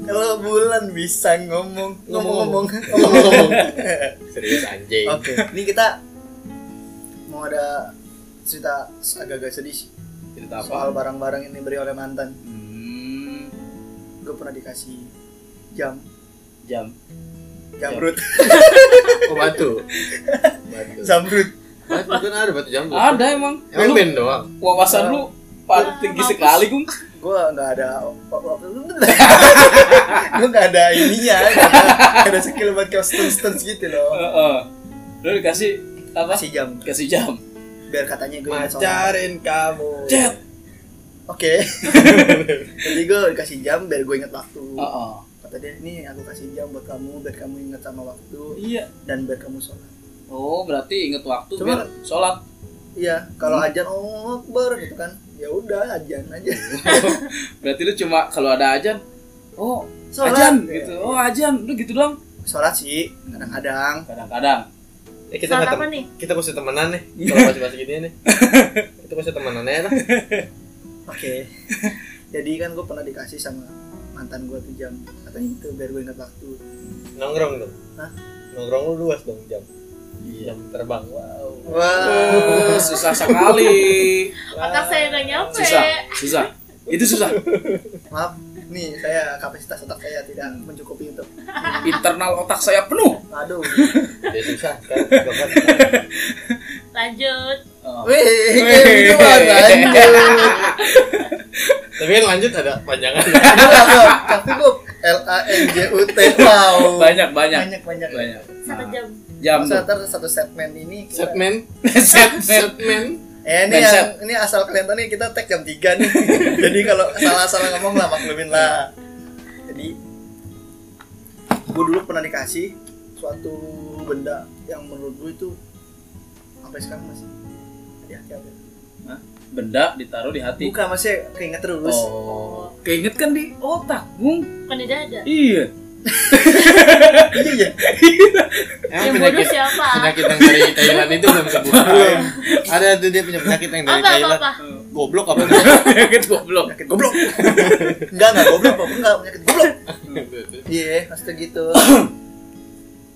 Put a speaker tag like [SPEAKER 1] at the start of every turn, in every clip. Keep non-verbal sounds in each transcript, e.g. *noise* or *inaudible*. [SPEAKER 1] Kalau bulan bisa ngomong ngomong-ngomong.
[SPEAKER 2] Ngomong-ngomong. Serius anjing.
[SPEAKER 1] Oke, ini kita mau ada cerita agak-agak sedih sih.
[SPEAKER 2] Cerita apa?
[SPEAKER 1] soal barang-barang yang diberi oleh mantan.
[SPEAKER 2] Hmm,
[SPEAKER 1] Gue pernah dikasih jam,
[SPEAKER 2] jam.
[SPEAKER 1] jamrut,
[SPEAKER 2] Oh batu. Batu.
[SPEAKER 1] jamrut.
[SPEAKER 2] Batu kan ada batu jambu.
[SPEAKER 3] Ada emang.
[SPEAKER 2] Emang
[SPEAKER 3] Lu
[SPEAKER 2] ben doang.
[SPEAKER 3] wawasan lu
[SPEAKER 4] Ah,
[SPEAKER 3] paling tinggi sekali, Gung.
[SPEAKER 1] Gue nggak
[SPEAKER 2] *laughs*
[SPEAKER 1] ada, gue nggak ada ininya, nggak ada, nggak ada skill buat kayak stun stunts gitu loh.
[SPEAKER 3] Heeh. Lu dikasih apa?
[SPEAKER 1] Kasih jam,
[SPEAKER 3] Kasih jam.
[SPEAKER 1] biar katanya gue
[SPEAKER 2] kamu.
[SPEAKER 3] Jet.
[SPEAKER 2] *laughs*
[SPEAKER 1] Oke. Jadi gue dikasih jam biar gue inget waktu.
[SPEAKER 3] Heeh.
[SPEAKER 1] Kata dia ini aku kasih jam buat kamu biar kamu inget sama waktu
[SPEAKER 3] Iya.
[SPEAKER 1] dan biar kamu sholat.
[SPEAKER 3] Oh, berarti inget waktu
[SPEAKER 1] Cuma-
[SPEAKER 3] biar sholat.
[SPEAKER 1] Iya, kalau ajan oh akbar gitu kan. Ya udah ajan aja. *laughs*
[SPEAKER 3] Berarti lu cuma kalau ada ajan, oh,
[SPEAKER 1] Sholat.
[SPEAKER 3] ajan gitu. Oh, ajan. Lu gitu doang.
[SPEAKER 1] Sholat sih kadang-kadang.
[SPEAKER 3] Kadang-kadang.
[SPEAKER 2] Eh, kita
[SPEAKER 4] Saat
[SPEAKER 2] nggak
[SPEAKER 4] apa
[SPEAKER 2] tem-
[SPEAKER 4] nih?
[SPEAKER 2] kita mesti temenan nih. Kalau masih masih gini nih. Kita mesti temenan aja lah.
[SPEAKER 1] Oke. *laughs* Jadi kan gue pernah dikasih sama mantan gue tuh jam katanya itu biar gue inget waktu.
[SPEAKER 2] Nongkrong dong.
[SPEAKER 1] Hah?
[SPEAKER 2] Nongkrong lu luas dong jam. Jam terbang. Wow.
[SPEAKER 3] Eh, susah
[SPEAKER 4] *laughs*
[SPEAKER 3] sekali.
[SPEAKER 4] Otak saya ya? nggak nyampe.
[SPEAKER 3] Susah, susah. Itu susah.
[SPEAKER 1] Maaf, nih saya kapasitas otak saya tidak mencukupi untuk.
[SPEAKER 3] Internal otak saya penuh.
[SPEAKER 1] Aduh.
[SPEAKER 2] Dia susah kan.
[SPEAKER 4] Lanjut.
[SPEAKER 3] Oh.
[SPEAKER 1] Wih,
[SPEAKER 3] Wih.
[SPEAKER 1] gimana, anjing?
[SPEAKER 2] Tapi kan lanjut ada panjangan.
[SPEAKER 1] tapi gue L A N J U T wow
[SPEAKER 3] Banyak, banyak.
[SPEAKER 1] banyak banyak
[SPEAKER 3] Banyak. Nah,
[SPEAKER 4] Satu jam.
[SPEAKER 3] Jam.
[SPEAKER 1] Masa ntar satu segmen ini kita-
[SPEAKER 2] Setman.
[SPEAKER 3] *laughs* Set.
[SPEAKER 2] Setman.
[SPEAKER 1] Eh ini
[SPEAKER 3] Main
[SPEAKER 1] yang,
[SPEAKER 3] set.
[SPEAKER 1] ini asal kelihatan nih kita tag jam 3 nih. *laughs* Jadi kalau salah-salah ngomong lah maklumin lah. Jadi gue dulu pernah dikasih suatu benda yang menurut gue itu sampai sekarang masih ya, ya, ya.
[SPEAKER 3] benda ditaruh di hati.
[SPEAKER 1] bukan masih keinget terus
[SPEAKER 3] Oh, Hmm. keinget kan di otak, Bung.
[SPEAKER 4] Bukan di dada.
[SPEAKER 3] Iya.
[SPEAKER 1] *laughs* iya ya
[SPEAKER 4] Yang bodoh siapa?
[SPEAKER 2] penyakit yang dari Thailand itu belum sembuh. Belum. Ada tuh dia punya penyakit yang dari
[SPEAKER 4] Apa apa
[SPEAKER 2] Thailand.
[SPEAKER 4] apa?
[SPEAKER 2] Goblok apa tuh?
[SPEAKER 3] Keinget *laughs* goblok.
[SPEAKER 1] penyakit *laughs* goblok enggak enggak goblok apa enggak penyakit goblok Iya, maksudnya gitu.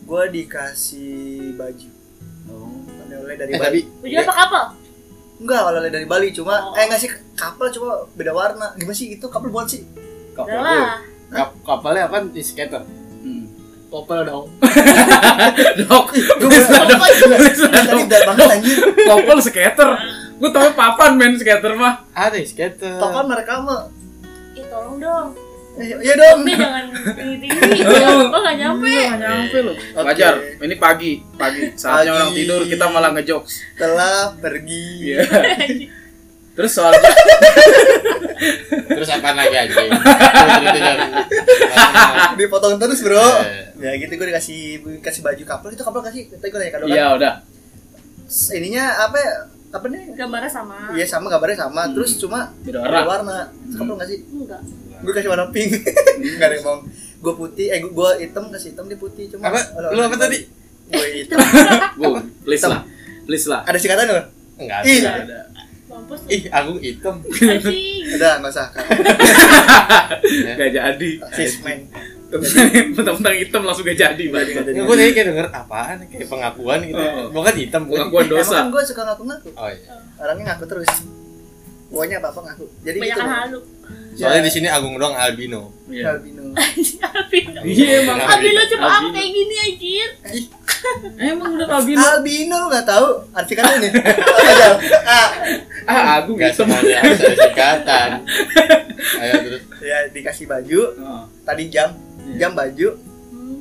[SPEAKER 1] gue dikasih baju.
[SPEAKER 3] Oh.
[SPEAKER 1] Oleh-oleh dari
[SPEAKER 2] Eh,
[SPEAKER 1] Bali.
[SPEAKER 2] tapi
[SPEAKER 4] Ujung apa kapal?
[SPEAKER 1] Enggak, oleh-oleh dari Bali cuma
[SPEAKER 4] Oh.
[SPEAKER 1] eh ngasih kapal cuma beda warna. Gimana sih itu kapal buat sih?
[SPEAKER 2] kapal tuh.
[SPEAKER 4] Udah
[SPEAKER 2] Kap- kapalnya apa di skater?
[SPEAKER 3] Hmm.
[SPEAKER 2] Kopel dong.
[SPEAKER 3] Dok,
[SPEAKER 1] Gue
[SPEAKER 4] Kapal
[SPEAKER 1] tadi udah banget anjir.
[SPEAKER 3] popol skater. Gue tau papan main skater mah.
[SPEAKER 2] Ada yang Ah, skater.
[SPEAKER 1] Topan mereka mah.
[SPEAKER 4] Ih tolong dong.
[SPEAKER 1] Eh, Iya dong.
[SPEAKER 4] Ini jangan tinggi-tinggi. Jangan apa nggak nyampe.
[SPEAKER 3] Iya. nyampe loh.
[SPEAKER 1] Oke.
[SPEAKER 3] Eh, Wajar. Ini pagi, pagi.
[SPEAKER 1] Pagi.
[SPEAKER 3] Saatnya orang tidur kita malah ngejokes.
[SPEAKER 1] Telah pergi.
[SPEAKER 3] Iya. *laughs* Terus soalnya *laughs*
[SPEAKER 2] Terus apa lagi *laughs* anjing? Terus itu jam.
[SPEAKER 1] Ah, Dipotong terus, Bro.
[SPEAKER 2] Eh.
[SPEAKER 1] Ya gitu gue dikasih kasih baju kapal itu kapal kasih. Tadi gue nanya kado kan.
[SPEAKER 3] Iya, udah.
[SPEAKER 1] Ininya apa ya? apa nih?
[SPEAKER 4] Gambarnya sama.
[SPEAKER 1] Iya sama gambarnya sama,
[SPEAKER 3] Hmm.
[SPEAKER 1] terus cuma
[SPEAKER 3] Beda
[SPEAKER 1] warna.
[SPEAKER 3] orang.
[SPEAKER 1] warna. Kapal nggak sih?
[SPEAKER 4] Enggak.
[SPEAKER 1] gue kasih warna pink *laughs* nggak ada yang mau gue putih eh gue hitam kasih hitam dia putih cuma
[SPEAKER 2] Apa? Lu apa tadi?
[SPEAKER 1] gue hitam
[SPEAKER 3] Bu, please lah. Please lah.
[SPEAKER 1] ada singkatan nggak
[SPEAKER 2] Enggak
[SPEAKER 1] Ih.
[SPEAKER 2] ada.
[SPEAKER 3] Ada.
[SPEAKER 4] Mampus lu.
[SPEAKER 2] Ih, aku hitam.
[SPEAKER 4] Anjing.
[SPEAKER 1] udah nggak usah
[SPEAKER 3] Gak jadi.
[SPEAKER 1] sismen
[SPEAKER 3] Mentang-mentang hitam langsung gak jadi, Mbak.
[SPEAKER 2] Gue tadi kayak denger apaan kayak pengakuan gitu.
[SPEAKER 3] Oh.
[SPEAKER 2] Bukan hitam, bukan.
[SPEAKER 3] Pengakuan
[SPEAKER 1] emang
[SPEAKER 3] dosa.
[SPEAKER 1] kan gue suka ngaku-ngaku
[SPEAKER 2] Oh iya.
[SPEAKER 1] orangnya ngaku terus pokoknya apa apa ngaku jadi gitu
[SPEAKER 4] Banyakan
[SPEAKER 1] loh.
[SPEAKER 4] halu. *laughs*
[SPEAKER 3] Ya.
[SPEAKER 2] Soalnya di sini Agung doang albino.
[SPEAKER 3] Iya.
[SPEAKER 1] albino
[SPEAKER 4] Anjing albino.
[SPEAKER 3] Iya, emang.
[SPEAKER 4] Albino cuma apa
[SPEAKER 3] Albino.
[SPEAKER 4] kayak gini anjir.
[SPEAKER 3] Emang udah albino.
[SPEAKER 1] albino lu nggak tahu arti kata ini Apa jauh? ah
[SPEAKER 3] Ah, aku
[SPEAKER 2] Enggak
[SPEAKER 3] hitam.
[SPEAKER 2] semuanya harus
[SPEAKER 3] *laughs*
[SPEAKER 2] ada singkatan. Ayo terus.
[SPEAKER 1] ya dikasih baju
[SPEAKER 3] Heeh.
[SPEAKER 1] tadi jam
[SPEAKER 3] Oh, Iya.
[SPEAKER 1] jam baju
[SPEAKER 4] Hmm.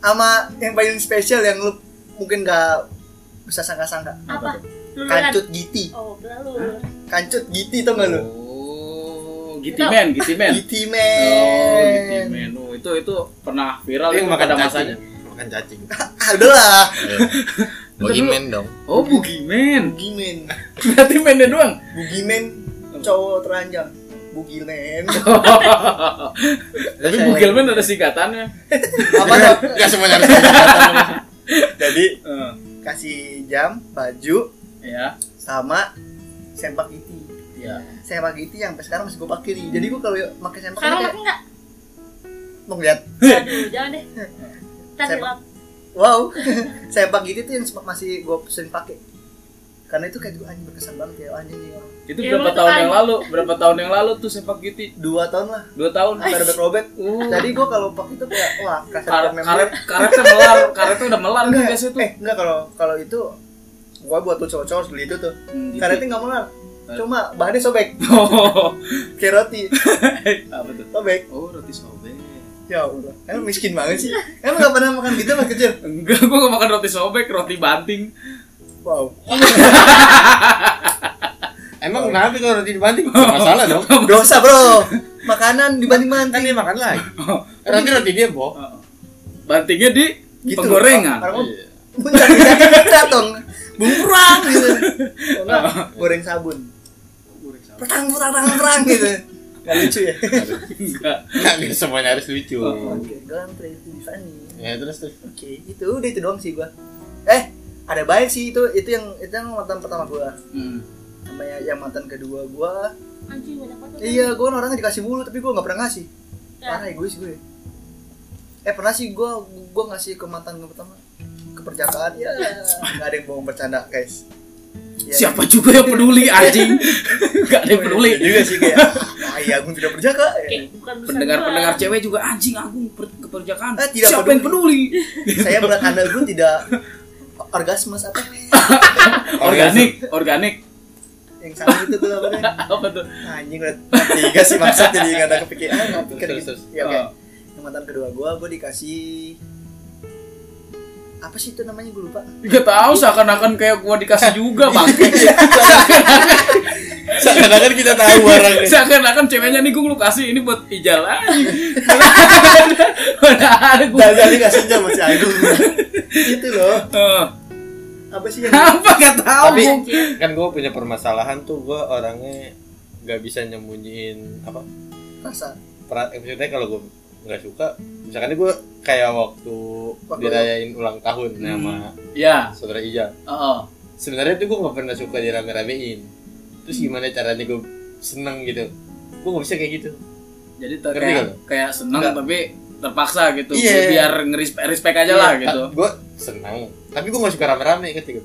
[SPEAKER 1] sama yang paling spesial yang lu mungkin nggak bisa sangka-sangka
[SPEAKER 4] Apa? Luluran.
[SPEAKER 1] kancut giti
[SPEAKER 4] Oh, lalu.
[SPEAKER 1] kancut giti tau nggak lu
[SPEAKER 3] Oh, Giti men, Giti men.
[SPEAKER 1] Giti
[SPEAKER 3] Oh, Giti
[SPEAKER 1] men.
[SPEAKER 3] men. Oh, itu itu pernah viral
[SPEAKER 2] Tapi
[SPEAKER 3] itu
[SPEAKER 2] yang makan
[SPEAKER 3] pada
[SPEAKER 2] cacing.
[SPEAKER 3] masanya.
[SPEAKER 2] Makan *laughs* cacing.
[SPEAKER 1] Ah, udah lah.
[SPEAKER 2] Bogimen dong.
[SPEAKER 3] Oh, Bugimen.
[SPEAKER 1] Bugimen.
[SPEAKER 3] *laughs* Berarti mennya doang.
[SPEAKER 1] Bugimen cowok teranjang. Bugimen.
[SPEAKER 2] Tapi
[SPEAKER 3] Tapi Bugimen ada singkatannya.
[SPEAKER 1] Apa
[SPEAKER 3] *laughs*
[SPEAKER 1] tuh?
[SPEAKER 2] Enggak semuanya harus ada singkatan.
[SPEAKER 1] Jadi
[SPEAKER 3] Eh,
[SPEAKER 1] kasih jam, baju,
[SPEAKER 3] ya.
[SPEAKER 1] sama sempak giti.
[SPEAKER 3] Ya.
[SPEAKER 1] Sempak giti yang sampai sekarang masih gue pakai nih. Jadi gue kalau pakai sempak
[SPEAKER 4] Sekarang
[SPEAKER 1] giti
[SPEAKER 4] makin enggak?
[SPEAKER 1] mau lihat
[SPEAKER 4] Aduh, jangan deh. Ntar
[SPEAKER 1] Saya-
[SPEAKER 4] hilang.
[SPEAKER 1] wow *laughs* sepak gitu tuh yang sempat- masih gue sering pakai karena itu kayak gue anjing berkesan banget ya anjing nih orang.
[SPEAKER 3] Itu berapa
[SPEAKER 4] Iya, lu tuh
[SPEAKER 3] tahun yang
[SPEAKER 4] kan.
[SPEAKER 3] lalu? Berapa tahun yang lalu tuh sepak giti?
[SPEAKER 1] dua tahun lah
[SPEAKER 3] Dua tahun.
[SPEAKER 1] ada robek robek
[SPEAKER 3] Uh,
[SPEAKER 1] jadi gue kalau pakai itu kayak wah kasar
[SPEAKER 3] karet
[SPEAKER 1] banget
[SPEAKER 3] karet karetnya melar, karetnya udah melar kan, tuh
[SPEAKER 1] enggak
[SPEAKER 3] biasanya tuh.
[SPEAKER 1] eh enggak kalau kalau itu gue buat tuh cowok cowok beli itu tuh
[SPEAKER 3] Hmm, gitu.
[SPEAKER 1] karetnya nggak melar cuma bahannya sobek
[SPEAKER 3] Oh,
[SPEAKER 1] kayak roti
[SPEAKER 3] *laughs* apa tuh?
[SPEAKER 1] sobek
[SPEAKER 3] Oh, roti sobek.
[SPEAKER 1] ya allah emang miskin banget sih emang nggak pernah makan gitu pas kecil
[SPEAKER 3] Enggak, gua gak makan roti sobek, roti banting.
[SPEAKER 1] wow
[SPEAKER 2] Emang kenapa kalau roti dibanting? Gak masalah dong.
[SPEAKER 1] dosa bro makanan dibanting
[SPEAKER 2] Kan
[SPEAKER 1] banting
[SPEAKER 2] dia makan lagi. Roti roti dia, Bo.
[SPEAKER 3] Oh. Bantingnya di
[SPEAKER 1] Gitu.
[SPEAKER 3] penggorengan.
[SPEAKER 1] Orang-
[SPEAKER 3] Iya.
[SPEAKER 1] Bukan *laughs* tidak dong. Bungkrang gitu. Kalau nggak, goreng sabun.
[SPEAKER 3] Goreng sama.
[SPEAKER 1] Perang perang perang perang gitu. Gak lucu ya.
[SPEAKER 3] Enggak.
[SPEAKER 2] *laughs* Nggak bisa semuanya harus lucu.
[SPEAKER 1] Oke, ganteng itu bisa nih.
[SPEAKER 2] Ya terus terus.
[SPEAKER 1] Oke, itu udah itu doang sih gua. Eh, ada baik sih itu itu yang itu yang mantan pertama gua.
[SPEAKER 3] Hmm.
[SPEAKER 1] Sama yang, yang mantan kedua gua.
[SPEAKER 4] Anjing banyak banget.
[SPEAKER 1] Iya, gua kan orangnya dikasih mulu tapi gua nggak pernah ngasih.
[SPEAKER 4] Ya.
[SPEAKER 1] Parah egois gue. Eh pernah sih gua gua ngasih ke mantan gua pertama keperjakaan ya nggak ada yang bohong bercanda guys Ya,
[SPEAKER 3] Siapa juga
[SPEAKER 1] *laughs*
[SPEAKER 3] yang peduli anjing? Enggak ada yang peduli.
[SPEAKER 1] Iya juga sih kayak ah iya aku tidak berjaga
[SPEAKER 4] Kayak bukan urusan
[SPEAKER 3] Pendengar-pendengar
[SPEAKER 4] gua.
[SPEAKER 3] cewek juga anjing Agung per- keperjakaan.
[SPEAKER 1] Eh, tidak
[SPEAKER 3] Siapa yang peduli?
[SPEAKER 1] saya melihat anda pun tidak orgasmus apa
[SPEAKER 3] Organik, organik.
[SPEAKER 1] yang sama itu tuh apa namanya?
[SPEAKER 3] Apa tuh?
[SPEAKER 1] anjing udah tiga sih maksud jadi nggak ada kepikiran ah, nggak pikir
[SPEAKER 2] Terus,
[SPEAKER 1] gitu
[SPEAKER 2] terus.
[SPEAKER 1] ya oke
[SPEAKER 3] Oh.
[SPEAKER 1] yang mantan kedua gue gue dikasih apa sih itu namanya gue lupa
[SPEAKER 3] Gak tau seakan-akan kayak gua dikasih
[SPEAKER 1] *laughs*
[SPEAKER 3] juga bang
[SPEAKER 1] Iya,
[SPEAKER 2] Seakan-akan kan kita tahu *laughs* barangnya.
[SPEAKER 3] Seakan-akan ceweknya nih gua lu kasih ini buat ijal anjing
[SPEAKER 1] *laughs*
[SPEAKER 3] Mana ada Mana ada gua
[SPEAKER 1] dan tadi kasihnya masih agung itu loh
[SPEAKER 3] Eh,
[SPEAKER 1] apa
[SPEAKER 3] *laughs*
[SPEAKER 1] sih yang
[SPEAKER 3] Apa gak tau
[SPEAKER 2] Tapi
[SPEAKER 3] Bung?
[SPEAKER 2] kan gue punya permasalahan tuh gue orangnya nggak bisa nyembunyiin apa
[SPEAKER 1] rasa
[SPEAKER 2] pra- eh, maksudnya kalau gue nggak suka misalkan gue kayak waktu
[SPEAKER 1] Waktu-
[SPEAKER 2] dirayain ulang tahun
[SPEAKER 3] Hmm.
[SPEAKER 2] sama
[SPEAKER 3] Ya
[SPEAKER 2] saudara Ija
[SPEAKER 3] oh.
[SPEAKER 2] sebenarnya tuh gue nggak pernah suka dirame-ramein terus gimana caranya gue seneng gitu gue nggak bisa kayak gitu
[SPEAKER 3] Jadi ter-
[SPEAKER 2] Ngerti
[SPEAKER 3] kayak,
[SPEAKER 2] nggak lu?
[SPEAKER 3] kayak seneng
[SPEAKER 2] Nggak.
[SPEAKER 3] tapi terpaksa gitu
[SPEAKER 2] Iya.
[SPEAKER 3] Biar ngeris- respect aja lah gitu
[SPEAKER 2] gue seneng tapi gue nggak suka rame-rame ketika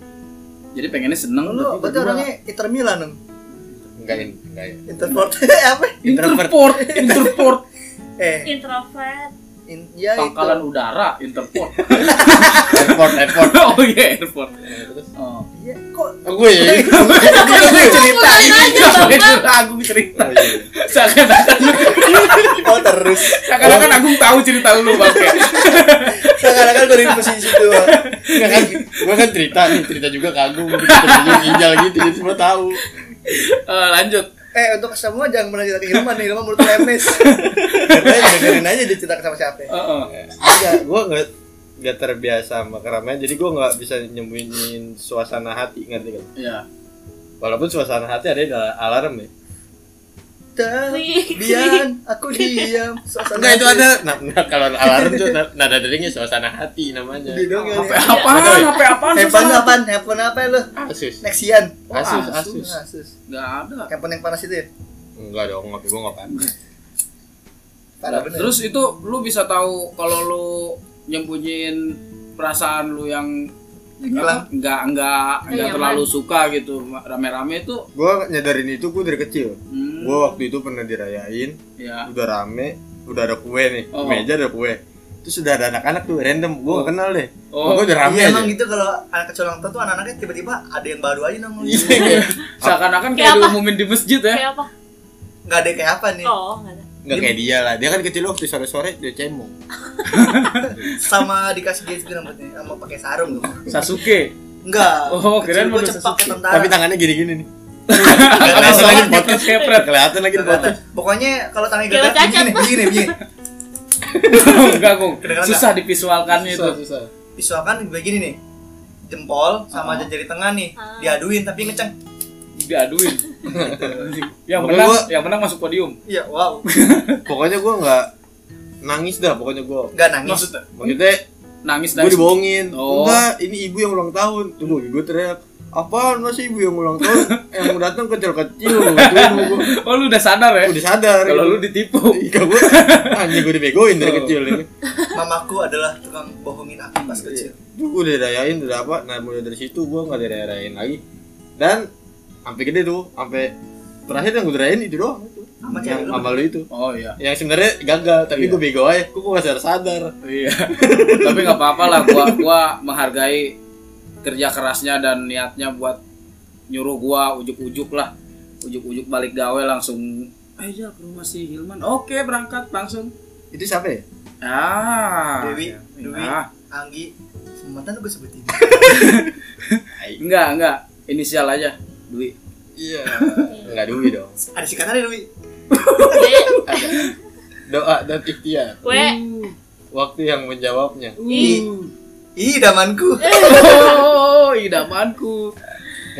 [SPEAKER 3] Jadi pengennya seneng
[SPEAKER 1] lo
[SPEAKER 3] tapi
[SPEAKER 1] berarti
[SPEAKER 3] berdua.
[SPEAKER 1] orangnya Inter Milan dong
[SPEAKER 2] enggak in- enggak ya
[SPEAKER 1] Interport *laughs* apa
[SPEAKER 3] *laughs* Interport Interport
[SPEAKER 1] eh
[SPEAKER 4] Introvert.
[SPEAKER 1] in, ya
[SPEAKER 3] Pangkalan
[SPEAKER 1] itu
[SPEAKER 3] udara Interport
[SPEAKER 2] airport airport
[SPEAKER 3] *laughs* Oh iya Interport
[SPEAKER 2] terus
[SPEAKER 3] *laughs* Oh
[SPEAKER 1] ya kok
[SPEAKER 2] gue ya
[SPEAKER 3] Gue cerita
[SPEAKER 4] Udahin aja
[SPEAKER 3] Gak boleh
[SPEAKER 4] Bang.
[SPEAKER 3] cerita Agung cerita
[SPEAKER 2] Oh, iya.
[SPEAKER 3] Seakan-akan
[SPEAKER 1] oh terus
[SPEAKER 3] Seakan-akan Agung tahu cerita lu bang Kayak,
[SPEAKER 1] seakan-akan gue di posisi itu
[SPEAKER 2] Enggak kan, gue kan cerita nih, cerita juga kagum, cerita ginjal gitu, jadi semua tahu.
[SPEAKER 3] eh, Lanjut
[SPEAKER 1] eh untuk semua jangan pernah cerita ke Hilman nih Hilman mulut lemes
[SPEAKER 3] *laughs*
[SPEAKER 1] Udah, dengerin aja dia cerita sama siapa Iya.
[SPEAKER 3] Heeh.
[SPEAKER 2] Enggak, gue nggak nggak terbiasa sama keramaian, jadi gue nggak bisa nyembunyiin suasana hati ngerti kan?
[SPEAKER 3] Iya
[SPEAKER 2] Walaupun suasana hati ada di dalam alarm ya.
[SPEAKER 4] Wih.
[SPEAKER 1] Diam, aku diam. Suasana
[SPEAKER 2] Enggak itu ada, nah, nah, kalau alarm tuh na- nada deringnya suasana hati namanya.
[SPEAKER 1] Di dong ya.
[SPEAKER 3] HP apaan? HP apaan?
[SPEAKER 1] Handphone lu
[SPEAKER 3] Susana?
[SPEAKER 1] apaan? Handphone apa lu?
[SPEAKER 2] Asus,
[SPEAKER 1] Nexian.
[SPEAKER 3] Oh,
[SPEAKER 2] asus,
[SPEAKER 3] Asus.
[SPEAKER 2] asus.
[SPEAKER 1] Asus.
[SPEAKER 3] Nggak ada.
[SPEAKER 1] Handphone yang panas itu ya?
[SPEAKER 2] Enggak dong, ngopi gue nggak panas.
[SPEAKER 1] Parah bener.
[SPEAKER 3] Terus itu lu bisa tahu kalau lu nyembunyiin perasaan lu yang
[SPEAKER 1] Hilang.
[SPEAKER 3] apa, nggak nggak nggak
[SPEAKER 4] Nyaman.
[SPEAKER 3] terlalu suka gitu rame-rame itu
[SPEAKER 2] Gue nyadarin itu gue dari kecil.
[SPEAKER 3] hmm,
[SPEAKER 2] Gue waktu itu pernah dirayain, *laughs*
[SPEAKER 3] ya
[SPEAKER 2] udah rame, udah ada kue nih,
[SPEAKER 3] Oh.
[SPEAKER 2] meja ada kue. Terus udah ada anak-anak tuh random, gue gak kenal deh.
[SPEAKER 3] Oh.
[SPEAKER 2] gue udah rame
[SPEAKER 1] Iya
[SPEAKER 2] aja.
[SPEAKER 1] emang gitu kalau anak kecil ulang tahun tuh anak-anaknya tiba-tiba ada yang baru aja nongol.
[SPEAKER 3] Iya. seakan-akan kayak
[SPEAKER 4] Kayak apa?
[SPEAKER 3] diumumin di masjid ya
[SPEAKER 4] Kayak apa?
[SPEAKER 1] Enggak ada yang kayak apa nih?
[SPEAKER 4] Oh, enggak ada.
[SPEAKER 2] Gak kayak dia lah, dia kan kecil waktu sore-sore dia cemong.
[SPEAKER 1] Sama dikasih dia juga rambutnya sama pakai sarung gitu.
[SPEAKER 3] Sasuke
[SPEAKER 1] Enggak.
[SPEAKER 3] Oh, kirain
[SPEAKER 1] gue
[SPEAKER 3] mau
[SPEAKER 1] cepak
[SPEAKER 3] Sasuke.
[SPEAKER 1] ke tentara.
[SPEAKER 2] Tapi tangannya gini-gini
[SPEAKER 3] *laughs*
[SPEAKER 2] nih.
[SPEAKER 1] Kelihatan
[SPEAKER 2] Kelihatan lagi
[SPEAKER 1] lagi
[SPEAKER 2] di podcast.
[SPEAKER 3] kepret *laughs*
[SPEAKER 2] Kelihatan lagi di
[SPEAKER 1] Kelihatan.
[SPEAKER 2] podcast.
[SPEAKER 1] Pokoknya kalau tangan
[SPEAKER 4] Kayak
[SPEAKER 1] gerak begini,
[SPEAKER 4] cacat.
[SPEAKER 1] begini, begini.
[SPEAKER 3] enggak Gung.
[SPEAKER 1] Kedengeran
[SPEAKER 3] susah divisualkannya itu
[SPEAKER 2] susah.
[SPEAKER 1] Misalkan begini nih. Jempol sama
[SPEAKER 3] Oh.
[SPEAKER 1] jari tengah nih
[SPEAKER 4] Ah.
[SPEAKER 1] diaduin tapi ngeceng.
[SPEAKER 3] diaduin yang
[SPEAKER 2] Pokoknya
[SPEAKER 3] menang
[SPEAKER 2] gua-
[SPEAKER 3] yang menang masuk podium
[SPEAKER 1] Iya, wow.
[SPEAKER 2] Pokoknya gue gak nangis dah, pokoknya gue.
[SPEAKER 1] Enggak nangis.
[SPEAKER 3] maksudnya
[SPEAKER 2] Maksudnya
[SPEAKER 3] nangis
[SPEAKER 2] gue
[SPEAKER 3] nangis
[SPEAKER 2] dibohongin.
[SPEAKER 3] Oh.
[SPEAKER 2] Enggak, ini ibu yang ulang tahun. Tunggu, gue teriak. apaan masih ibu yang ulang
[SPEAKER 3] *laughs*
[SPEAKER 2] tahun yang mau datang kecil-kecil gituin sama gua.
[SPEAKER 3] Oh lu udah sadar ya?
[SPEAKER 2] udah sadar
[SPEAKER 3] Kalau lu ditipu.
[SPEAKER 2] Iya gue Anjing gue dibegoin dari kecil ini
[SPEAKER 1] Mamaku adalah tukang bohongin aku pas
[SPEAKER 3] Iya.
[SPEAKER 1] kecil.
[SPEAKER 2] Tuh gue dirayain udah apa Nah mulai dari situ gue gak dirayain lagi Dan Sampai gede tuh Sampai Terakhir yang gue dirayain itu doang itu.
[SPEAKER 1] Sama cewek
[SPEAKER 2] Yang
[SPEAKER 1] lu.
[SPEAKER 2] sama lu itu
[SPEAKER 3] Oh iya.
[SPEAKER 2] Yang sebenarnya gagal Tapi
[SPEAKER 3] Iya.
[SPEAKER 2] gue bego aja Gue gak sadar-sadar
[SPEAKER 3] Iya. *laughs* Tapi nggak apa-apa lah gua gua menghargai kerja kerasnya dan niatnya buat nyuruh gua ujuk-ujuk lah. Ujuk-ujuk balik gawe langsung ayo Jal, ke rumah si Hilman. Oke, berangkat langsung.
[SPEAKER 2] Itu siapa ya?
[SPEAKER 3] Ah.
[SPEAKER 1] Dewi,
[SPEAKER 3] ya.
[SPEAKER 1] Dewi.
[SPEAKER 3] Ah,
[SPEAKER 1] Anggi, semuanya gue sebutin.
[SPEAKER 3] enggak, enggak. Inisial aja. Dewi.
[SPEAKER 2] Iya Enggak duit dong
[SPEAKER 1] Ada singkatannya Dewi.
[SPEAKER 2] Doa dan ikhtiar
[SPEAKER 4] W
[SPEAKER 2] Waktu yang menjawabnya
[SPEAKER 1] Ih. Ih, damanku.
[SPEAKER 4] Eh.
[SPEAKER 3] Oh, idamanku.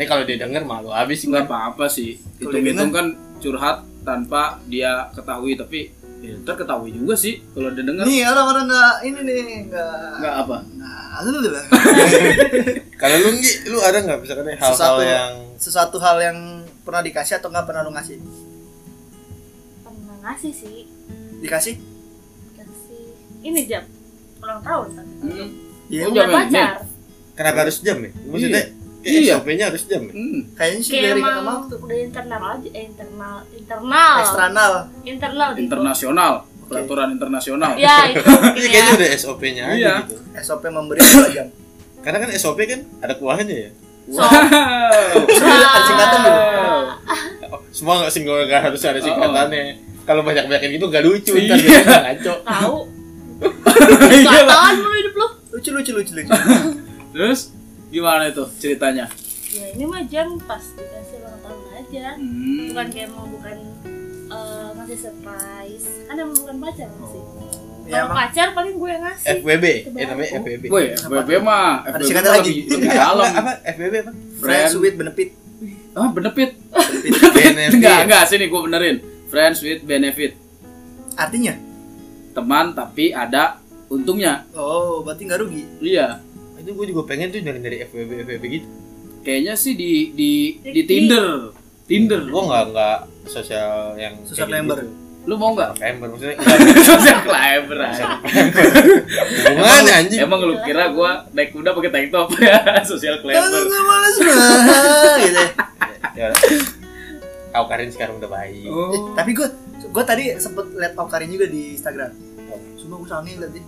[SPEAKER 2] Ini Eh, kalau dia denger malu abis
[SPEAKER 3] nggak
[SPEAKER 2] gue
[SPEAKER 3] apa-apa sih
[SPEAKER 1] Kalau
[SPEAKER 3] hitung-hitung kan curhat tanpa dia ketahui tapi ya, ntar ketahui juga sih kalau dia dengar
[SPEAKER 1] Nih, orang-orang nggak ini nih nggak.
[SPEAKER 3] nggak apa
[SPEAKER 1] Nah, lu udah bilang.
[SPEAKER 2] Kalau lu Nggi, lu ada gak misalkan hal-hal
[SPEAKER 1] Sesuatu.
[SPEAKER 2] yang
[SPEAKER 1] sesuatu hal yang pernah dikasih atau nggak pernah lu ngasih?
[SPEAKER 4] pernah ngasih sih
[SPEAKER 1] Dikasih?
[SPEAKER 4] kasih ini jam ulang tahun kan
[SPEAKER 3] hmm.
[SPEAKER 1] Iya.
[SPEAKER 3] Oh,
[SPEAKER 4] udah
[SPEAKER 3] jam ini?
[SPEAKER 4] pacar
[SPEAKER 2] Kenapa harus jam ya? Maksudnya kayak
[SPEAKER 3] Iya.
[SPEAKER 2] SOP-nya harus jam *laughs* ya?
[SPEAKER 3] Hmm.
[SPEAKER 1] Kayaknya sih
[SPEAKER 4] kayak
[SPEAKER 1] dari kata
[SPEAKER 4] emang
[SPEAKER 1] waktu.
[SPEAKER 4] udah internal aja eh, internal internal
[SPEAKER 1] Eksternal.
[SPEAKER 4] internal gitu.
[SPEAKER 3] internasional peraturan internasional
[SPEAKER 4] ya itu mungkin
[SPEAKER 2] Iya
[SPEAKER 4] ya
[SPEAKER 2] kayaknya udah SOP-nya aja
[SPEAKER 3] Iya.
[SPEAKER 2] gitu.
[SPEAKER 1] SOP memberi dua jam.
[SPEAKER 2] Karena kan SOP kan ada kuahnya ya.
[SPEAKER 3] *laughs*
[SPEAKER 4] so
[SPEAKER 3] Wow.
[SPEAKER 4] Nah,
[SPEAKER 1] Ada singkatan lu.
[SPEAKER 2] Oh, semua nggak single nggak harus ada
[SPEAKER 3] Oh.
[SPEAKER 2] singkatannya. Kalau banyak banyakin gitu nggak lucu, ntar jadi
[SPEAKER 3] *laughs*
[SPEAKER 2] ngaco.
[SPEAKER 4] tahu
[SPEAKER 3] Iya lah.
[SPEAKER 4] Kelataan mulu hidup lu
[SPEAKER 1] Lucu lucu lucu lucu.
[SPEAKER 3] terus gimana itu ceritanya
[SPEAKER 4] ya ini mah jam pas dikasih ulang tahun aja
[SPEAKER 3] Hmm.
[SPEAKER 4] bukan kayak mau bukan eh, ngasih surprise kan emang bukan pacar sih
[SPEAKER 1] ya
[SPEAKER 4] kalau
[SPEAKER 1] emang
[SPEAKER 4] pacar paling gue yang ngasih
[SPEAKER 2] FWB,
[SPEAKER 4] Kebayang.
[SPEAKER 2] eh namanya FWB.
[SPEAKER 3] Woi, FBB mah,
[SPEAKER 1] Ada
[SPEAKER 3] FBB
[SPEAKER 1] singkatan
[SPEAKER 3] mah
[SPEAKER 1] lagi.
[SPEAKER 3] lebih, lebih
[SPEAKER 2] Nggak,
[SPEAKER 3] dalam.
[SPEAKER 2] nggak, Iya, apa FWB apa?
[SPEAKER 1] friends with benefit.
[SPEAKER 3] Ah, benefit.
[SPEAKER 2] Benefit.
[SPEAKER 3] *laughs* Enggak, enggak, sini gua benerin. Friends with benefit.
[SPEAKER 1] Artinya?
[SPEAKER 3] Teman tapi ada untungnya.
[SPEAKER 1] Oh, berarti nggak rugi.
[SPEAKER 3] Iya.
[SPEAKER 2] Itu gue juga pengen tuh dari dari FWB FWB gitu.
[SPEAKER 3] kayaknya sih di di di
[SPEAKER 4] Di-
[SPEAKER 3] Tinder Tinder
[SPEAKER 2] Gue nggak nggak sosial yang
[SPEAKER 1] Sosial
[SPEAKER 2] kayak
[SPEAKER 1] member.
[SPEAKER 2] gitu.
[SPEAKER 3] lu mau nggak
[SPEAKER 4] *laughs*
[SPEAKER 2] Member maksudnya nggak
[SPEAKER 3] sosial climber aja.
[SPEAKER 2] hubungan
[SPEAKER 3] *laughs*
[SPEAKER 2] anjing.
[SPEAKER 3] emang lu kira gua naik kuda pakai tank top *laughs* ya sosial
[SPEAKER 1] Aku
[SPEAKER 3] climber
[SPEAKER 1] nggak males banget. gitu. ya.
[SPEAKER 2] Ya, Kau Karin sekarang udah baik.
[SPEAKER 3] Oh,
[SPEAKER 1] Eh, tapi gue gue tadi sempet liat Om Karin juga di Instagram. Cuma gue sange liat dia.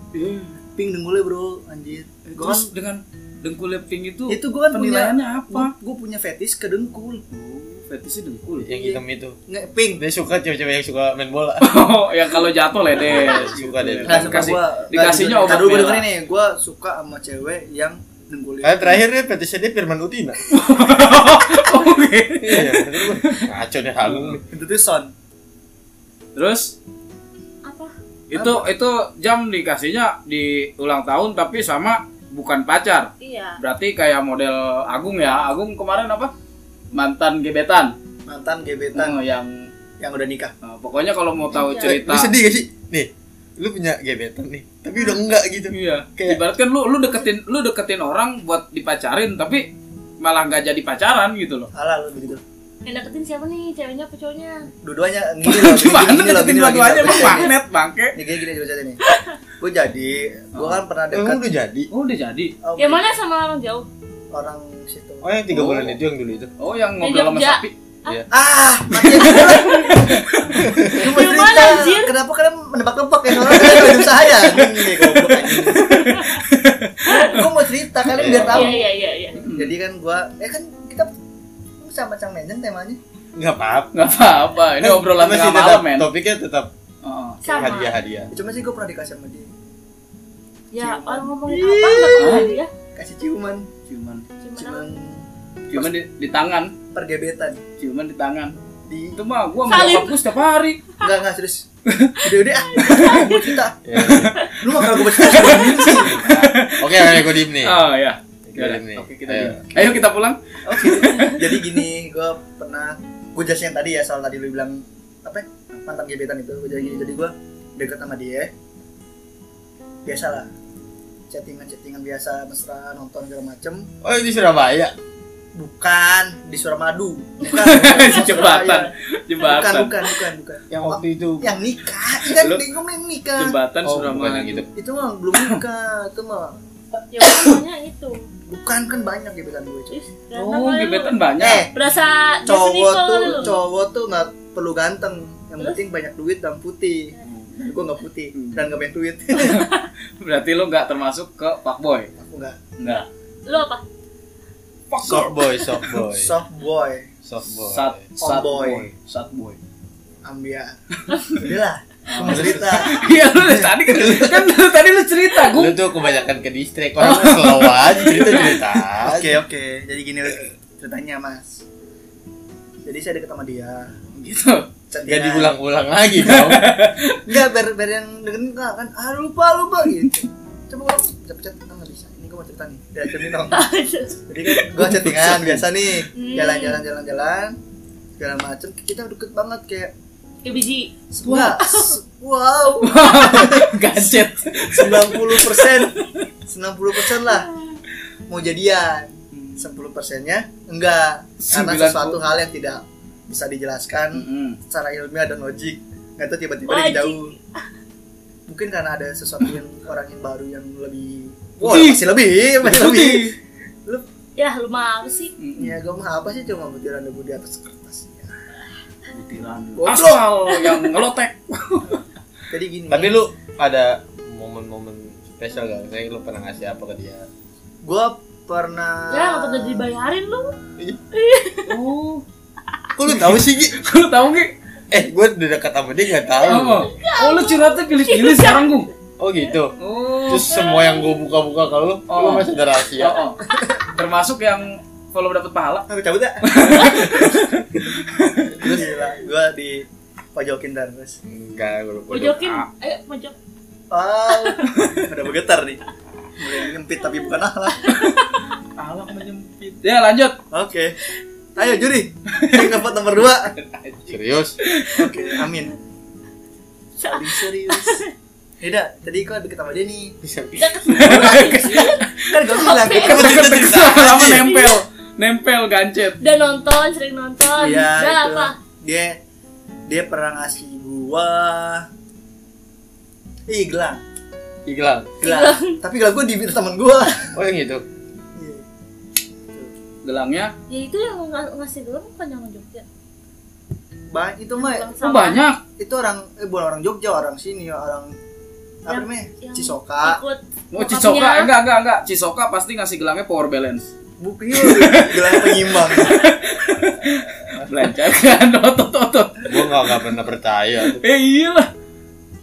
[SPEAKER 1] Ping dengkulnya bro, anjir. Gue kan,
[SPEAKER 3] Eh, terus dengan dengkul pink itu
[SPEAKER 1] itu gue kan punya
[SPEAKER 3] penilaiannya apa
[SPEAKER 1] Gue punya fetish ke dengkul.
[SPEAKER 3] fetisnya dengkul ya?
[SPEAKER 2] Yang hitam itu.
[SPEAKER 1] Nggak ping.
[SPEAKER 2] Dia suka cewek-cewek yang suka main bola.
[SPEAKER 3] *laughs* oh yang kalau jatuh *laughs* ledes
[SPEAKER 2] Suka deh.
[SPEAKER 1] Nah, suka
[SPEAKER 3] Dikasih-
[SPEAKER 1] gua,
[SPEAKER 3] dikasihnya
[SPEAKER 1] Ntar
[SPEAKER 3] obat
[SPEAKER 1] dulu gue
[SPEAKER 3] merah.
[SPEAKER 1] dengerin nih, gue suka sama cewek yang dengkulnya.
[SPEAKER 2] Karena Eh, terakhir dia petisnya dia Firman Utina.
[SPEAKER 3] Oke.
[SPEAKER 2] Iya, bener gua. ngaco deh halung nih.
[SPEAKER 1] itu tuh son.
[SPEAKER 3] *laughs* terus
[SPEAKER 4] apa
[SPEAKER 3] itu itu jam dikasihnya di ulang tahun tapi sama bukan pacar
[SPEAKER 4] iya
[SPEAKER 3] berarti kayak model Agung ya Agung kemarin apa mantan gebetan
[SPEAKER 1] mantan gebetan
[SPEAKER 3] Oh, yang
[SPEAKER 1] yang udah nikah.
[SPEAKER 3] Nah, pokoknya kalau mau tahu
[SPEAKER 4] Iya.
[SPEAKER 3] cerita
[SPEAKER 2] Lu sedih gak sih? Nih, lu punya gebetan nih, tapi udah enggak gitu.
[SPEAKER 3] iya
[SPEAKER 2] Kayak-
[SPEAKER 3] ibarat kan lu lu deketin lu deketin orang buat dipacarin tapi malah nggak jadi pacaran gitu loh
[SPEAKER 1] Alah lu begitu.
[SPEAKER 4] yang deketin siapa nih ceweknya apa cowoknya
[SPEAKER 3] *laughs*
[SPEAKER 1] Dua-duanya gini loh, gini,
[SPEAKER 3] gimana
[SPEAKER 1] gini loh,
[SPEAKER 3] deketin
[SPEAKER 1] gini loh, gini
[SPEAKER 3] dua-duanya
[SPEAKER 1] loh, gini
[SPEAKER 3] lu
[SPEAKER 1] loh.
[SPEAKER 3] magnet bangke
[SPEAKER 1] Nih gini gini ceritanya nih. Gue jadi, gue kan pernah
[SPEAKER 2] Emang
[SPEAKER 1] dekat
[SPEAKER 2] udah jadi?
[SPEAKER 3] oh udah jadi
[SPEAKER 1] oh,
[SPEAKER 4] yang mana sama orang jauh
[SPEAKER 1] orang situ.
[SPEAKER 2] Oh yang tiga
[SPEAKER 3] Oh.
[SPEAKER 2] bulan itu yang dulu itu.
[SPEAKER 3] oh yang
[SPEAKER 4] Di
[SPEAKER 3] ngobrol sama
[SPEAKER 4] Jogja.
[SPEAKER 3] sapi
[SPEAKER 1] Ah, mati aja. Lu mau
[SPEAKER 4] Yang
[SPEAKER 1] cerita,
[SPEAKER 4] mana, anjir?
[SPEAKER 1] Kenapa kalian menebak-nebak ya? Soalnya kalian hidup saya.
[SPEAKER 3] *laughs*
[SPEAKER 1] Nih, goblok anjing. Gua mau cerita, kalian biar tahu.
[SPEAKER 4] iya iya iya iya
[SPEAKER 3] Hmm.
[SPEAKER 1] Jadi kan gua, eh kan kita lu sama Cang Menjen temanya.
[SPEAKER 2] Enggak apa-apa.
[SPEAKER 3] nggak apa-apa ini
[SPEAKER 1] Eh,
[SPEAKER 2] Kan
[SPEAKER 3] obrolan tengah
[SPEAKER 2] tetap-
[SPEAKER 3] malam men
[SPEAKER 2] Topiknya tetap
[SPEAKER 3] Oh.
[SPEAKER 4] sama
[SPEAKER 2] hadiah-hadiah.
[SPEAKER 1] Ya, Cuma sih gua pernah dikasih sama dia.
[SPEAKER 4] ya orang ngomongin apa nggak pernah dia
[SPEAKER 1] Kasih ciuman,
[SPEAKER 3] cuman
[SPEAKER 4] cuman
[SPEAKER 1] ciuman
[SPEAKER 3] cuman di, di tangan
[SPEAKER 1] pergebetan
[SPEAKER 3] cuman di tangan
[SPEAKER 1] di
[SPEAKER 3] itu mah gua
[SPEAKER 4] Salim.
[SPEAKER 3] mau setiap hari
[SPEAKER 1] enggak enggak serius. *laughs* Udah udah ah. Gua cerita.
[SPEAKER 2] Ya. *laughs*
[SPEAKER 1] Lu mah kalau gua cerita.
[SPEAKER 2] Oke, oke, gue diem nih.
[SPEAKER 1] Iya.
[SPEAKER 3] oh ya
[SPEAKER 2] Gue diem nih.
[SPEAKER 3] oke kita
[SPEAKER 2] Ayo.
[SPEAKER 3] diem. ayo kita pulang *laughs*
[SPEAKER 1] Oke. Jadi gini, gue pernah gue jelasin yang tadi ya soal tadi lu bilang apa? ya, Mantan gebetan itu. Gua jadi gini, jadi gue deket sama dia. Biasalah chattingan chattingan biasa mesra nonton segala macem
[SPEAKER 2] Oh ini Surabaya.
[SPEAKER 1] bukan di Suramadu bukan Iya.
[SPEAKER 3] jembatan
[SPEAKER 1] Surabaya. bukan
[SPEAKER 3] jembatan
[SPEAKER 1] bukan bukan bukan
[SPEAKER 2] yang waktu itu
[SPEAKER 1] yang nikah kan
[SPEAKER 3] Lu-
[SPEAKER 1] bingung yang nikah
[SPEAKER 3] jembatan gitu.
[SPEAKER 2] oh bukan yang
[SPEAKER 3] Suramadu
[SPEAKER 2] itu
[SPEAKER 1] itu mah belum nikah itu mah
[SPEAKER 4] ya pokoknya itu
[SPEAKER 1] bukan kan banyak gebetan gue cuy
[SPEAKER 4] Ih, ganteng
[SPEAKER 3] oh
[SPEAKER 4] kali lu.
[SPEAKER 3] gebetan banyak
[SPEAKER 1] eh
[SPEAKER 4] berasa
[SPEAKER 1] cowok
[SPEAKER 4] Jason Nicole
[SPEAKER 1] tuh
[SPEAKER 4] kali lu.
[SPEAKER 1] cowok tuh nggak perlu ganteng yang
[SPEAKER 4] Terus?
[SPEAKER 1] penting banyak duit dan putih gue nggak putih
[SPEAKER 3] Hmm.
[SPEAKER 1] dan nggak banyak *laughs* duit
[SPEAKER 3] berarti lo nggak termasuk ke fuckboy
[SPEAKER 1] aku nggak
[SPEAKER 3] nggak
[SPEAKER 4] lu apa *laughs*
[SPEAKER 2] soft boy soft
[SPEAKER 3] *laughs*
[SPEAKER 2] boy
[SPEAKER 1] soft boy
[SPEAKER 2] soft boy
[SPEAKER 3] sat sat
[SPEAKER 1] Tomboy.
[SPEAKER 3] boy sat boy
[SPEAKER 1] ambia *laughs* udahlah cuma cerita
[SPEAKER 3] *laughs* iya lu dari tadi kan kan dari tadi lu cerita
[SPEAKER 2] lu
[SPEAKER 3] gue
[SPEAKER 2] tuh kebanyakan ke distrik orang mah
[SPEAKER 3] *laughs*
[SPEAKER 2] slow aja cerita cerita
[SPEAKER 1] oke oke jadi gini ceritanya mas jadi saya deket sama dia
[SPEAKER 3] gitu
[SPEAKER 2] Gak
[SPEAKER 1] Cantikan.
[SPEAKER 2] diulang-ulang
[SPEAKER 3] *laughs*
[SPEAKER 2] lagi dong
[SPEAKER 1] Enggak, biar, biar yang dengerin enggak kan Ah lupa, lupa gitu Coba gue pecat-pecat, enggak nggak bisa Ini gue mau cerita nih, dari cermin dong Jadi kan gue chattingan biasa nih
[SPEAKER 4] Hmm.
[SPEAKER 1] Jalan-jalan, jalan-jalan Segala macem, kita deket banget kayak
[SPEAKER 4] kayak biji
[SPEAKER 1] Wah, s- wow
[SPEAKER 3] gadget
[SPEAKER 1] 90% 90% lah Mau jadian 10 persennya enggak Karena
[SPEAKER 3] 90.
[SPEAKER 1] sesuatu hal yang tidak bisa dijelaskan
[SPEAKER 3] Mm-mm.
[SPEAKER 1] secara ilmiah dan logik Nah itu tiba-tiba
[SPEAKER 4] Logik.
[SPEAKER 1] dia jauh mungkin karena ada sesuatu yang orang yang baru yang lebih wah
[SPEAKER 3] Wah, masih
[SPEAKER 1] masih lebih masih lebih
[SPEAKER 4] ya lu mah apa sih
[SPEAKER 3] Mm-mm.
[SPEAKER 1] ya gue mah apa sih cuma butiran debu di atas kertas Ya.
[SPEAKER 3] butiran
[SPEAKER 1] Goblok.
[SPEAKER 3] asal yang ngelotek
[SPEAKER 1] jadi gini
[SPEAKER 2] tapi lu ada momen-momen spesial gak kayak lu pernah ngasih apa ke dia
[SPEAKER 1] gue pernah
[SPEAKER 4] ya nggak pernah dibayarin lu
[SPEAKER 3] oh
[SPEAKER 2] kok lu tahu sih Gi?
[SPEAKER 3] lu tahu nggak
[SPEAKER 2] eh gue udah dekat sama dia nggak tahu
[SPEAKER 3] oh, oh lu curhatnya pilih-pilih sekarang gue
[SPEAKER 2] oh gitu
[SPEAKER 3] oh
[SPEAKER 2] terus semua yang gue buka-buka ke lu
[SPEAKER 3] Oh.
[SPEAKER 2] lu masih ada rahasia
[SPEAKER 3] Oh, oh. termasuk yang kalau dapat pahala
[SPEAKER 1] Apa, cabut *laughs* ya terus gue di pojokin dan terus
[SPEAKER 2] enggak gue lupa
[SPEAKER 4] pojokin
[SPEAKER 3] Ah.
[SPEAKER 4] ayo pojok
[SPEAKER 1] wow udah bergetar nih mulai ngempit tapi bukan alat
[SPEAKER 3] pahala menyempit ya lanjut *laughs*
[SPEAKER 1] oke ayo juri yang dapat nomor dua
[SPEAKER 2] serius
[SPEAKER 1] oke amin saling *laughs* serius tidak tadi kok deket sama dia nih kan gue bilang
[SPEAKER 4] Oke.
[SPEAKER 1] kan kita cerita
[SPEAKER 3] lama nempel nempel gancet
[SPEAKER 4] udah nonton sering nonton
[SPEAKER 1] Iya,
[SPEAKER 4] udah
[SPEAKER 1] itu.
[SPEAKER 4] apa
[SPEAKER 1] dia dia pernah ngasih gua ih gelang
[SPEAKER 2] iklan
[SPEAKER 1] gelang tapi gelang gua diminta temen gua
[SPEAKER 2] oh yang itu
[SPEAKER 1] Iya.
[SPEAKER 3] gelangnya
[SPEAKER 4] ya itu yang ng- ngasih gelang bukan yang Jogja
[SPEAKER 1] Ba- itu mah
[SPEAKER 4] Gelang
[SPEAKER 3] oh,
[SPEAKER 4] sama.
[SPEAKER 3] banyak
[SPEAKER 1] itu orang eh bukan orang Jogja orang sini orang apa
[SPEAKER 4] Yang-
[SPEAKER 1] namanya
[SPEAKER 4] yang
[SPEAKER 1] Cisoka
[SPEAKER 4] ikut
[SPEAKER 3] mau
[SPEAKER 4] bokapnya.
[SPEAKER 3] cisoka Eh, enggak enggak enggak cisoka pasti ngasih gelangnya power balance
[SPEAKER 1] bukan gelang *laughs* penyimbang
[SPEAKER 3] belajar *laughs* kan otot otot
[SPEAKER 2] gue nggak nggak pernah percaya
[SPEAKER 3] eh iyalah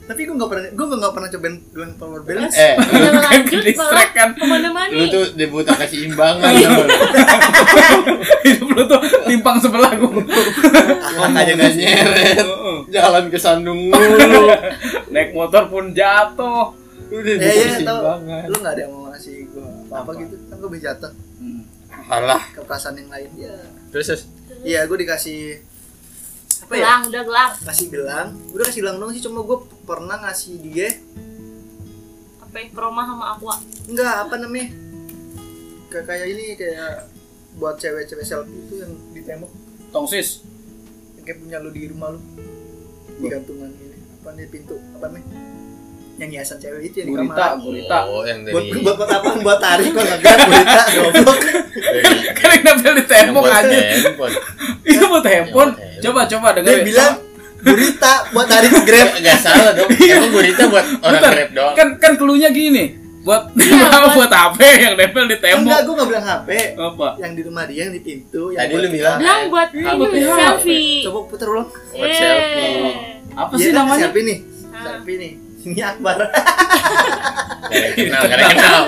[SPEAKER 1] tapi gua nggak pernah gua nggak pernah cobain gelang power balance
[SPEAKER 2] eh
[SPEAKER 4] Udah
[SPEAKER 3] kan
[SPEAKER 4] lanjut
[SPEAKER 3] distract kan
[SPEAKER 4] malah kemana-mana
[SPEAKER 2] lu tuh debut keseimbangan
[SPEAKER 3] Iya.
[SPEAKER 2] lu
[SPEAKER 3] hidup lu tuh timpang sebelah gua
[SPEAKER 1] Akhlak aja nggak sih?
[SPEAKER 2] nyeret
[SPEAKER 3] Heeh.
[SPEAKER 2] jalan ke sandung
[SPEAKER 3] *laughs* Iya,
[SPEAKER 2] mulu
[SPEAKER 3] naik motor pun jatuh
[SPEAKER 2] lu *laughs* udah
[SPEAKER 1] Eh, iya, tau.
[SPEAKER 2] keseimbangan
[SPEAKER 1] lu nggak ada yang mau ngasih gua apa,
[SPEAKER 3] Apa?
[SPEAKER 1] gitu kan gua bisa jatuh
[SPEAKER 3] Hmm.
[SPEAKER 2] alah
[SPEAKER 1] ke perasaan yang lain ya
[SPEAKER 2] terus terus.
[SPEAKER 1] iya gua dikasih apa ya
[SPEAKER 4] gelang udah gelang
[SPEAKER 1] kasih gelang udah kasih gelang dong sih cuma gue pernah ngasih dia
[SPEAKER 4] apa yang Proma sama Aqua
[SPEAKER 1] enggak apa namanya kayak kayak ini kayak buat cewek-cewek selfie itu yang di tembok
[SPEAKER 3] tongsis
[SPEAKER 1] yang kayak punya lu di rumah lu di gantungan ini apa nih pintu apa namanya yang hiasan cewek itu yang di
[SPEAKER 3] Gurita.
[SPEAKER 1] kamar
[SPEAKER 3] Gurita.
[SPEAKER 2] oh yang
[SPEAKER 1] buat
[SPEAKER 2] dari
[SPEAKER 1] buat buat apa buat tarik
[SPEAKER 2] *laughs*
[SPEAKER 1] kok nggak gerak gurita goblok
[SPEAKER 3] kan yang nempel di
[SPEAKER 2] yang
[SPEAKER 3] tembok
[SPEAKER 2] buat
[SPEAKER 3] aja
[SPEAKER 2] handphone.
[SPEAKER 3] itu buat handphone
[SPEAKER 2] Yang buat handphone.
[SPEAKER 3] coba coba
[SPEAKER 1] dia
[SPEAKER 3] dengerin
[SPEAKER 1] bilang gurita buat tarik grab
[SPEAKER 2] nggak salah dong emang gurita buat orang
[SPEAKER 3] Iya. Bentar,
[SPEAKER 2] grab doang
[SPEAKER 3] kan kan keluarnya gini *laughs* buat
[SPEAKER 4] Iya, buat-
[SPEAKER 3] buat HP yang nempel di
[SPEAKER 1] enggak
[SPEAKER 3] tembok
[SPEAKER 1] gue nggak bilang hp
[SPEAKER 3] apa
[SPEAKER 1] yang di rumah dia yang di pintu yang
[SPEAKER 2] Tadi
[SPEAKER 1] buat
[SPEAKER 2] lu
[SPEAKER 1] kita.
[SPEAKER 2] bilang.
[SPEAKER 4] gelang buat
[SPEAKER 2] Gelang
[SPEAKER 4] ini,
[SPEAKER 2] buat gelang.
[SPEAKER 4] selfie
[SPEAKER 1] ya?
[SPEAKER 4] Iya.
[SPEAKER 1] coba putar ulang
[SPEAKER 2] buat
[SPEAKER 4] Yeay.
[SPEAKER 2] selfie.
[SPEAKER 3] apa
[SPEAKER 1] Iya
[SPEAKER 3] sih
[SPEAKER 1] kan,
[SPEAKER 3] namanya
[SPEAKER 1] selfie nih
[SPEAKER 4] Ah.
[SPEAKER 1] selfie nih ini akbar *laughs*
[SPEAKER 2] Gak kenal gak kenal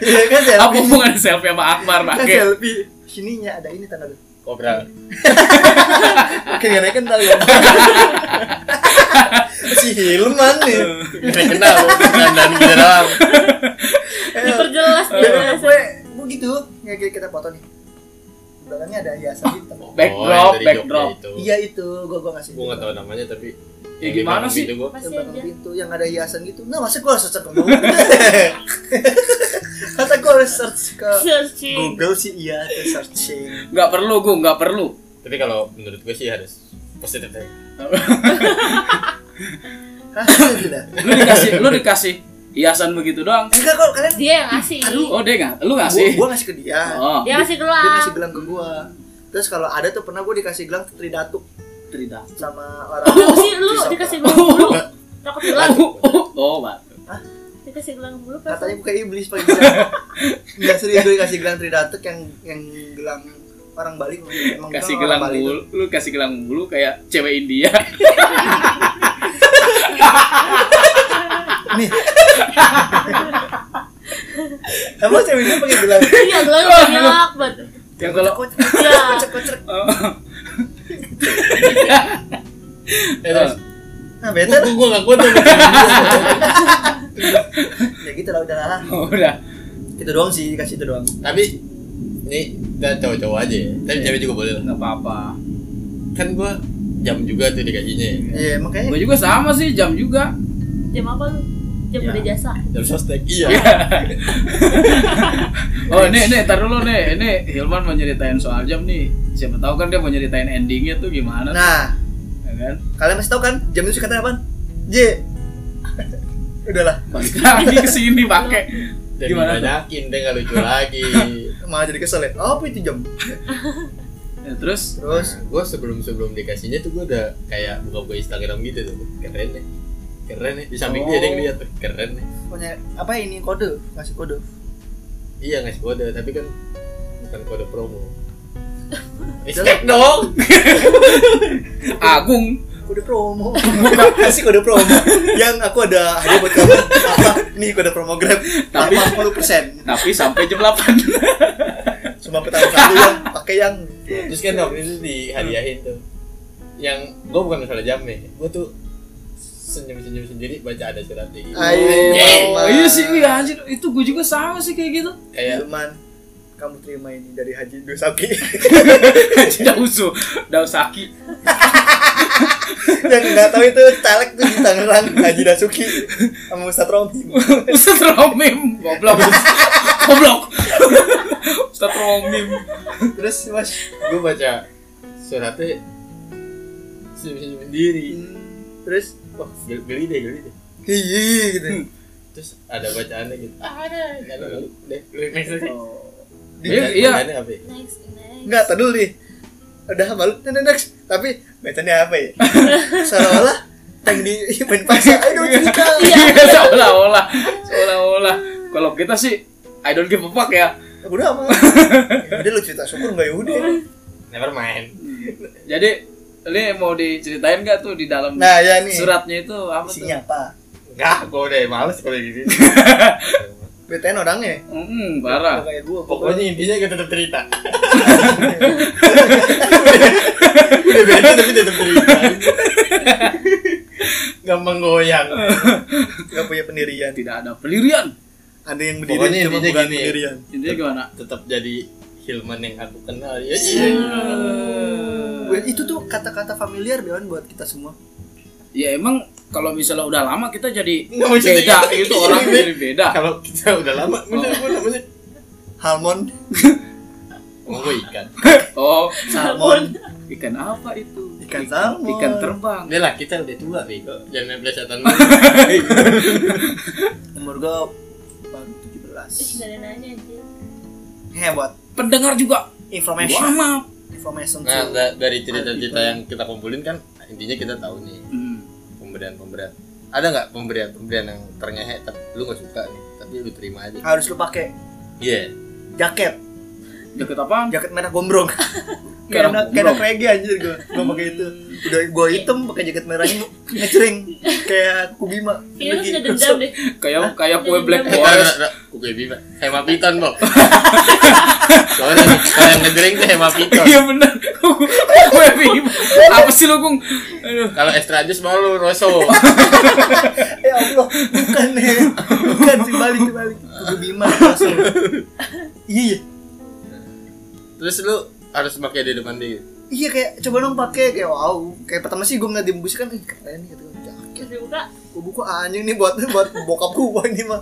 [SPEAKER 1] Iya kan selfie.
[SPEAKER 3] apa hubungan selfie sama Akbar
[SPEAKER 1] Kan
[SPEAKER 3] pakai
[SPEAKER 1] selfie. Sininya ada ini tanda lu.
[SPEAKER 2] kobra
[SPEAKER 1] Oke, gak ada yang kenal ya. si Hilman nih.
[SPEAKER 2] Gak kenal dan gitu doang
[SPEAKER 4] diperjelas
[SPEAKER 1] Ya,
[SPEAKER 4] diperjelas
[SPEAKER 1] gue gue gitu. Ya kayak kita foto nih. Belakangnya ada hiasan hitam.
[SPEAKER 3] Backdrop,
[SPEAKER 2] Oh, yang dari
[SPEAKER 3] backdrop. Iya.
[SPEAKER 2] Jogja itu.
[SPEAKER 1] Iya itu, gue gue ngasih.
[SPEAKER 2] gue nggak tahu namanya tapi
[SPEAKER 3] Ya gimana sih?
[SPEAKER 2] Gitu gua.
[SPEAKER 1] yang
[SPEAKER 4] Pasti aja.
[SPEAKER 1] belakang pintu yang ada hiasan gitu nah masa gue harus search ke Google *laughs* masa gue harus search ke
[SPEAKER 4] Searching.
[SPEAKER 1] Google sih iya ke searching
[SPEAKER 3] Nggak perlu gue, nggak perlu.
[SPEAKER 2] Tapi kalau menurut gue sih harus positif ya. deh.
[SPEAKER 1] Hah, gitu dah.
[SPEAKER 3] Lu dikasih, lu dikasih hiasan begitu doang.
[SPEAKER 1] enggak kok kalian
[SPEAKER 4] Dia yang ngasih.
[SPEAKER 3] Oh deh nggak, lu
[SPEAKER 1] gue
[SPEAKER 3] ngasih.
[SPEAKER 1] gue ngasih ke dia
[SPEAKER 3] Oh,
[SPEAKER 4] Dia ngasih ah.
[SPEAKER 1] dia
[SPEAKER 4] gelang.
[SPEAKER 1] ngasih gelang ke gue terus kalau ada tuh pernah gue dikasih gelang Tridatuk
[SPEAKER 3] Trida.
[SPEAKER 1] sama orang
[SPEAKER 4] Kenapa sih lu
[SPEAKER 1] Trisakti.
[SPEAKER 4] dikasih gelang bulu? Takut hilang.
[SPEAKER 3] *laughs* Oh, Pak.
[SPEAKER 4] Dikasih gelang bulu pas.
[SPEAKER 1] katanya bukan iblis paling gelang nggak serius gue dikasih gelang Tridatuk yang yang gelang orang Bali emang gelang
[SPEAKER 3] Kasih gelang
[SPEAKER 1] orang Bali
[SPEAKER 3] bulu, lu kasih gelang bulu kayak cewek India.
[SPEAKER 1] tuh. nih emang ceweknya pakai gelang
[SPEAKER 4] Iya,
[SPEAKER 1] *laughs*
[SPEAKER 4] gelang banyak banget.
[SPEAKER 3] *laughs* Yang kalau
[SPEAKER 4] Iya.
[SPEAKER 1] kocek-kocek
[SPEAKER 2] Eh, terus
[SPEAKER 1] nah bete
[SPEAKER 2] gue
[SPEAKER 1] lah
[SPEAKER 2] gue gak kuat tuh.
[SPEAKER 1] *laughs* ya gitu lah udah lah
[SPEAKER 3] Oh, udah.
[SPEAKER 1] itu doang sih dikasih itu doang
[SPEAKER 2] Tapi ini kita cowok-cowok aja ya.
[SPEAKER 3] Iya.
[SPEAKER 2] Tapi cewek juga boleh lah.
[SPEAKER 3] Nggak apa-apa.
[SPEAKER 2] Kan gue jam juga tuh ya. dikasihnya.
[SPEAKER 3] Eh.
[SPEAKER 1] iya makanya
[SPEAKER 3] Gue juga sama sih, jam juga.
[SPEAKER 4] Jam apa lu? Jam
[SPEAKER 3] Iya.
[SPEAKER 4] udah jasa.
[SPEAKER 2] Jam sostek. Iya.
[SPEAKER 3] Oh nih nih tar dulu nih ini Hilman mau nyeritain soal jam nih siapa tahu kan dia mau nyeritain endingnya tuh gimana
[SPEAKER 1] nah
[SPEAKER 3] ya kan
[SPEAKER 1] kalian masih tahu kan jam itu katanya apa J *laughs* udahlah
[SPEAKER 3] balik lagi ke sini pakai *laughs*
[SPEAKER 2] Dan
[SPEAKER 3] Gimana tuh?
[SPEAKER 2] dibanyakin deh gak lucu lagi.
[SPEAKER 1] malah jadi kesel ya apa itu jam
[SPEAKER 3] Ya, terus
[SPEAKER 1] terus
[SPEAKER 2] gue sebelum sebelum dikasihnya tuh gue udah kayak buka-buka Instagram gitu tuh. Keren deh. Keren nih. Di samping dia dia ngeliat tuh. Keren ya. nih.
[SPEAKER 1] punya apa ini kode ngasih kode
[SPEAKER 2] Iya ngasih kode tapi kan bukan kode promo. Respect dong.
[SPEAKER 3] Agung
[SPEAKER 1] kode promo *laughs* kasih kode promo yang aku ada hadiah buat kamu *laughs* apa nih kode promo grab
[SPEAKER 3] Tapi-
[SPEAKER 1] 80 persen
[SPEAKER 3] tapi sampai jam 8
[SPEAKER 1] cuma pertama kali yang pakai yang
[SPEAKER 2] Terus kan waktu itu dihadiahin tuh. Yang gue bukan masalah jamnya, gue tuh senyum-senyum sendiri baca ada suratnya gitu.
[SPEAKER 1] ayo
[SPEAKER 3] oh, iya sih iya anjir itu gue juga sama sih kayak *laughs* gitu
[SPEAKER 2] Kayak
[SPEAKER 1] Hilman kamu terima ini dari Haji Dosaki
[SPEAKER 3] dausu dausaki
[SPEAKER 1] yang nggak tahu itu caleg tuh di Tangerang Haji Dasuki sama Ustadz Romi
[SPEAKER 3] Ustaz Romim goblok *laughs* goblok Ustaz Romim
[SPEAKER 1] terus mas
[SPEAKER 2] gue baca suratnya senyum-senyum sendiri.
[SPEAKER 1] terus
[SPEAKER 2] Wah, geli geli deh, geli deh.
[SPEAKER 1] hihi gitu
[SPEAKER 2] Terus ada bacaannya gitu. Ah, ada. Ada lalu deh. Next next.
[SPEAKER 3] Iya,
[SPEAKER 2] Bacaan-
[SPEAKER 3] iya.
[SPEAKER 2] bacaannya apa? ya?
[SPEAKER 4] Next, next.
[SPEAKER 1] Enggak, tadi dulu nih. Udah malu next, next. Tapi bacanya apa ya? Seolah-olah tank di main paksa. Ayo cerita.
[SPEAKER 3] *laughs* seolah-olah seolah-olah kalau kita sih I don't give a fuck ya
[SPEAKER 1] Bodo amat. Ya Udah lu cerita syukur enggak ya udah.
[SPEAKER 2] Never mind.
[SPEAKER 3] Jadi ini mau diceritain gak tuh di dalam
[SPEAKER 1] Nah, ya nih.
[SPEAKER 3] suratnya itu apa
[SPEAKER 1] Isinya
[SPEAKER 3] tuh?
[SPEAKER 1] apa?
[SPEAKER 2] Enggak, gue udah males kalau gini.
[SPEAKER 1] BTN orangnya.
[SPEAKER 3] Hmm, parah.
[SPEAKER 1] Kayak gua
[SPEAKER 2] Pokoknya intinya gue tetap cerita.
[SPEAKER 1] udah beda.
[SPEAKER 2] tapi tetap cerita. Gampang goyang.
[SPEAKER 1] Enggak punya pendirian.
[SPEAKER 3] Tidak ada pelirian.
[SPEAKER 1] Ada yang
[SPEAKER 2] Pokoknya
[SPEAKER 1] berdiri cuma
[SPEAKER 2] intinya
[SPEAKER 1] bukan
[SPEAKER 2] gini.
[SPEAKER 1] pendirian.
[SPEAKER 3] Intinya gimana?
[SPEAKER 2] Tetap jadi Hilman yang aku kenal ya.
[SPEAKER 3] Iya. Eh.
[SPEAKER 1] Weh, Eh, Itu tuh kata-kata familiar Dewan buat kita semua.
[SPEAKER 3] Ya emang kalau misalnya udah lama kita jadi
[SPEAKER 2] Nggak mau cerita.
[SPEAKER 3] beda itu orang jadi beda.
[SPEAKER 2] Kalau kita udah lama, udah gue namanya.
[SPEAKER 1] Halmon,
[SPEAKER 2] Mau gue ikan.
[SPEAKER 3] Oh,
[SPEAKER 1] salmon,
[SPEAKER 3] ikan apa itu?
[SPEAKER 1] Ikan salmon.
[SPEAKER 3] Ikan terbang.
[SPEAKER 2] Udah lah, kita udah tua bego. Jangan main plesetan.
[SPEAKER 1] umur gua baru
[SPEAKER 4] Ih, gak
[SPEAKER 1] 17.
[SPEAKER 4] ada nanya aja.
[SPEAKER 1] Hebat.
[SPEAKER 3] Pendengar juga
[SPEAKER 1] ya Information.
[SPEAKER 3] lama.
[SPEAKER 1] Information.
[SPEAKER 2] Nah, da- dari cerita-cerita yang kita kumpulin kan intinya kita tahu nih
[SPEAKER 3] Hmm.
[SPEAKER 2] pemberian-pemberian. Ada nggak pemberian-pemberian yang ternyata tapi lu nggak suka nih, tapi lu terima aja. Iya.
[SPEAKER 1] harus lu pakai jaket
[SPEAKER 3] Deket apa?
[SPEAKER 1] jaket merah
[SPEAKER 4] *laughs*
[SPEAKER 1] gombrong
[SPEAKER 3] Merah
[SPEAKER 1] karena karena
[SPEAKER 3] gombrong.
[SPEAKER 1] reggae anjir gua gua pakai itu udah gua hitam pakai jaket merahnya ngecering kayak kubima
[SPEAKER 4] Kayaknya lu sudah dendam deh.
[SPEAKER 3] Kayak kayak kue Black
[SPEAKER 2] Eh, tar, tar, *laughs*
[SPEAKER 3] Forest.
[SPEAKER 2] tar. Kue bima. Hema piton, *laughs* Bob. Soalnya nih, kalau yang ngedrink tuh hema piton.
[SPEAKER 3] Iya bener. *laughs* Kue Bima. Apa sih lu, Gung? Aduh.
[SPEAKER 2] Kalau extra jus mau lu rosso.
[SPEAKER 1] *laughs* ya allah bukan ya bukan sih balik sih balik kubima
[SPEAKER 4] *laughs*
[SPEAKER 1] langsung iya iya
[SPEAKER 2] Terus lu harus pakai di depan dia.
[SPEAKER 1] iya kayak coba dong pakai kayak wow kayak pertama sih gue ngeliat di bungkus kan "Ih, keren nih kata gue jaket
[SPEAKER 4] terus dibuka
[SPEAKER 1] gue buka "Ah, anjing nih buat buat bokap gue ini mah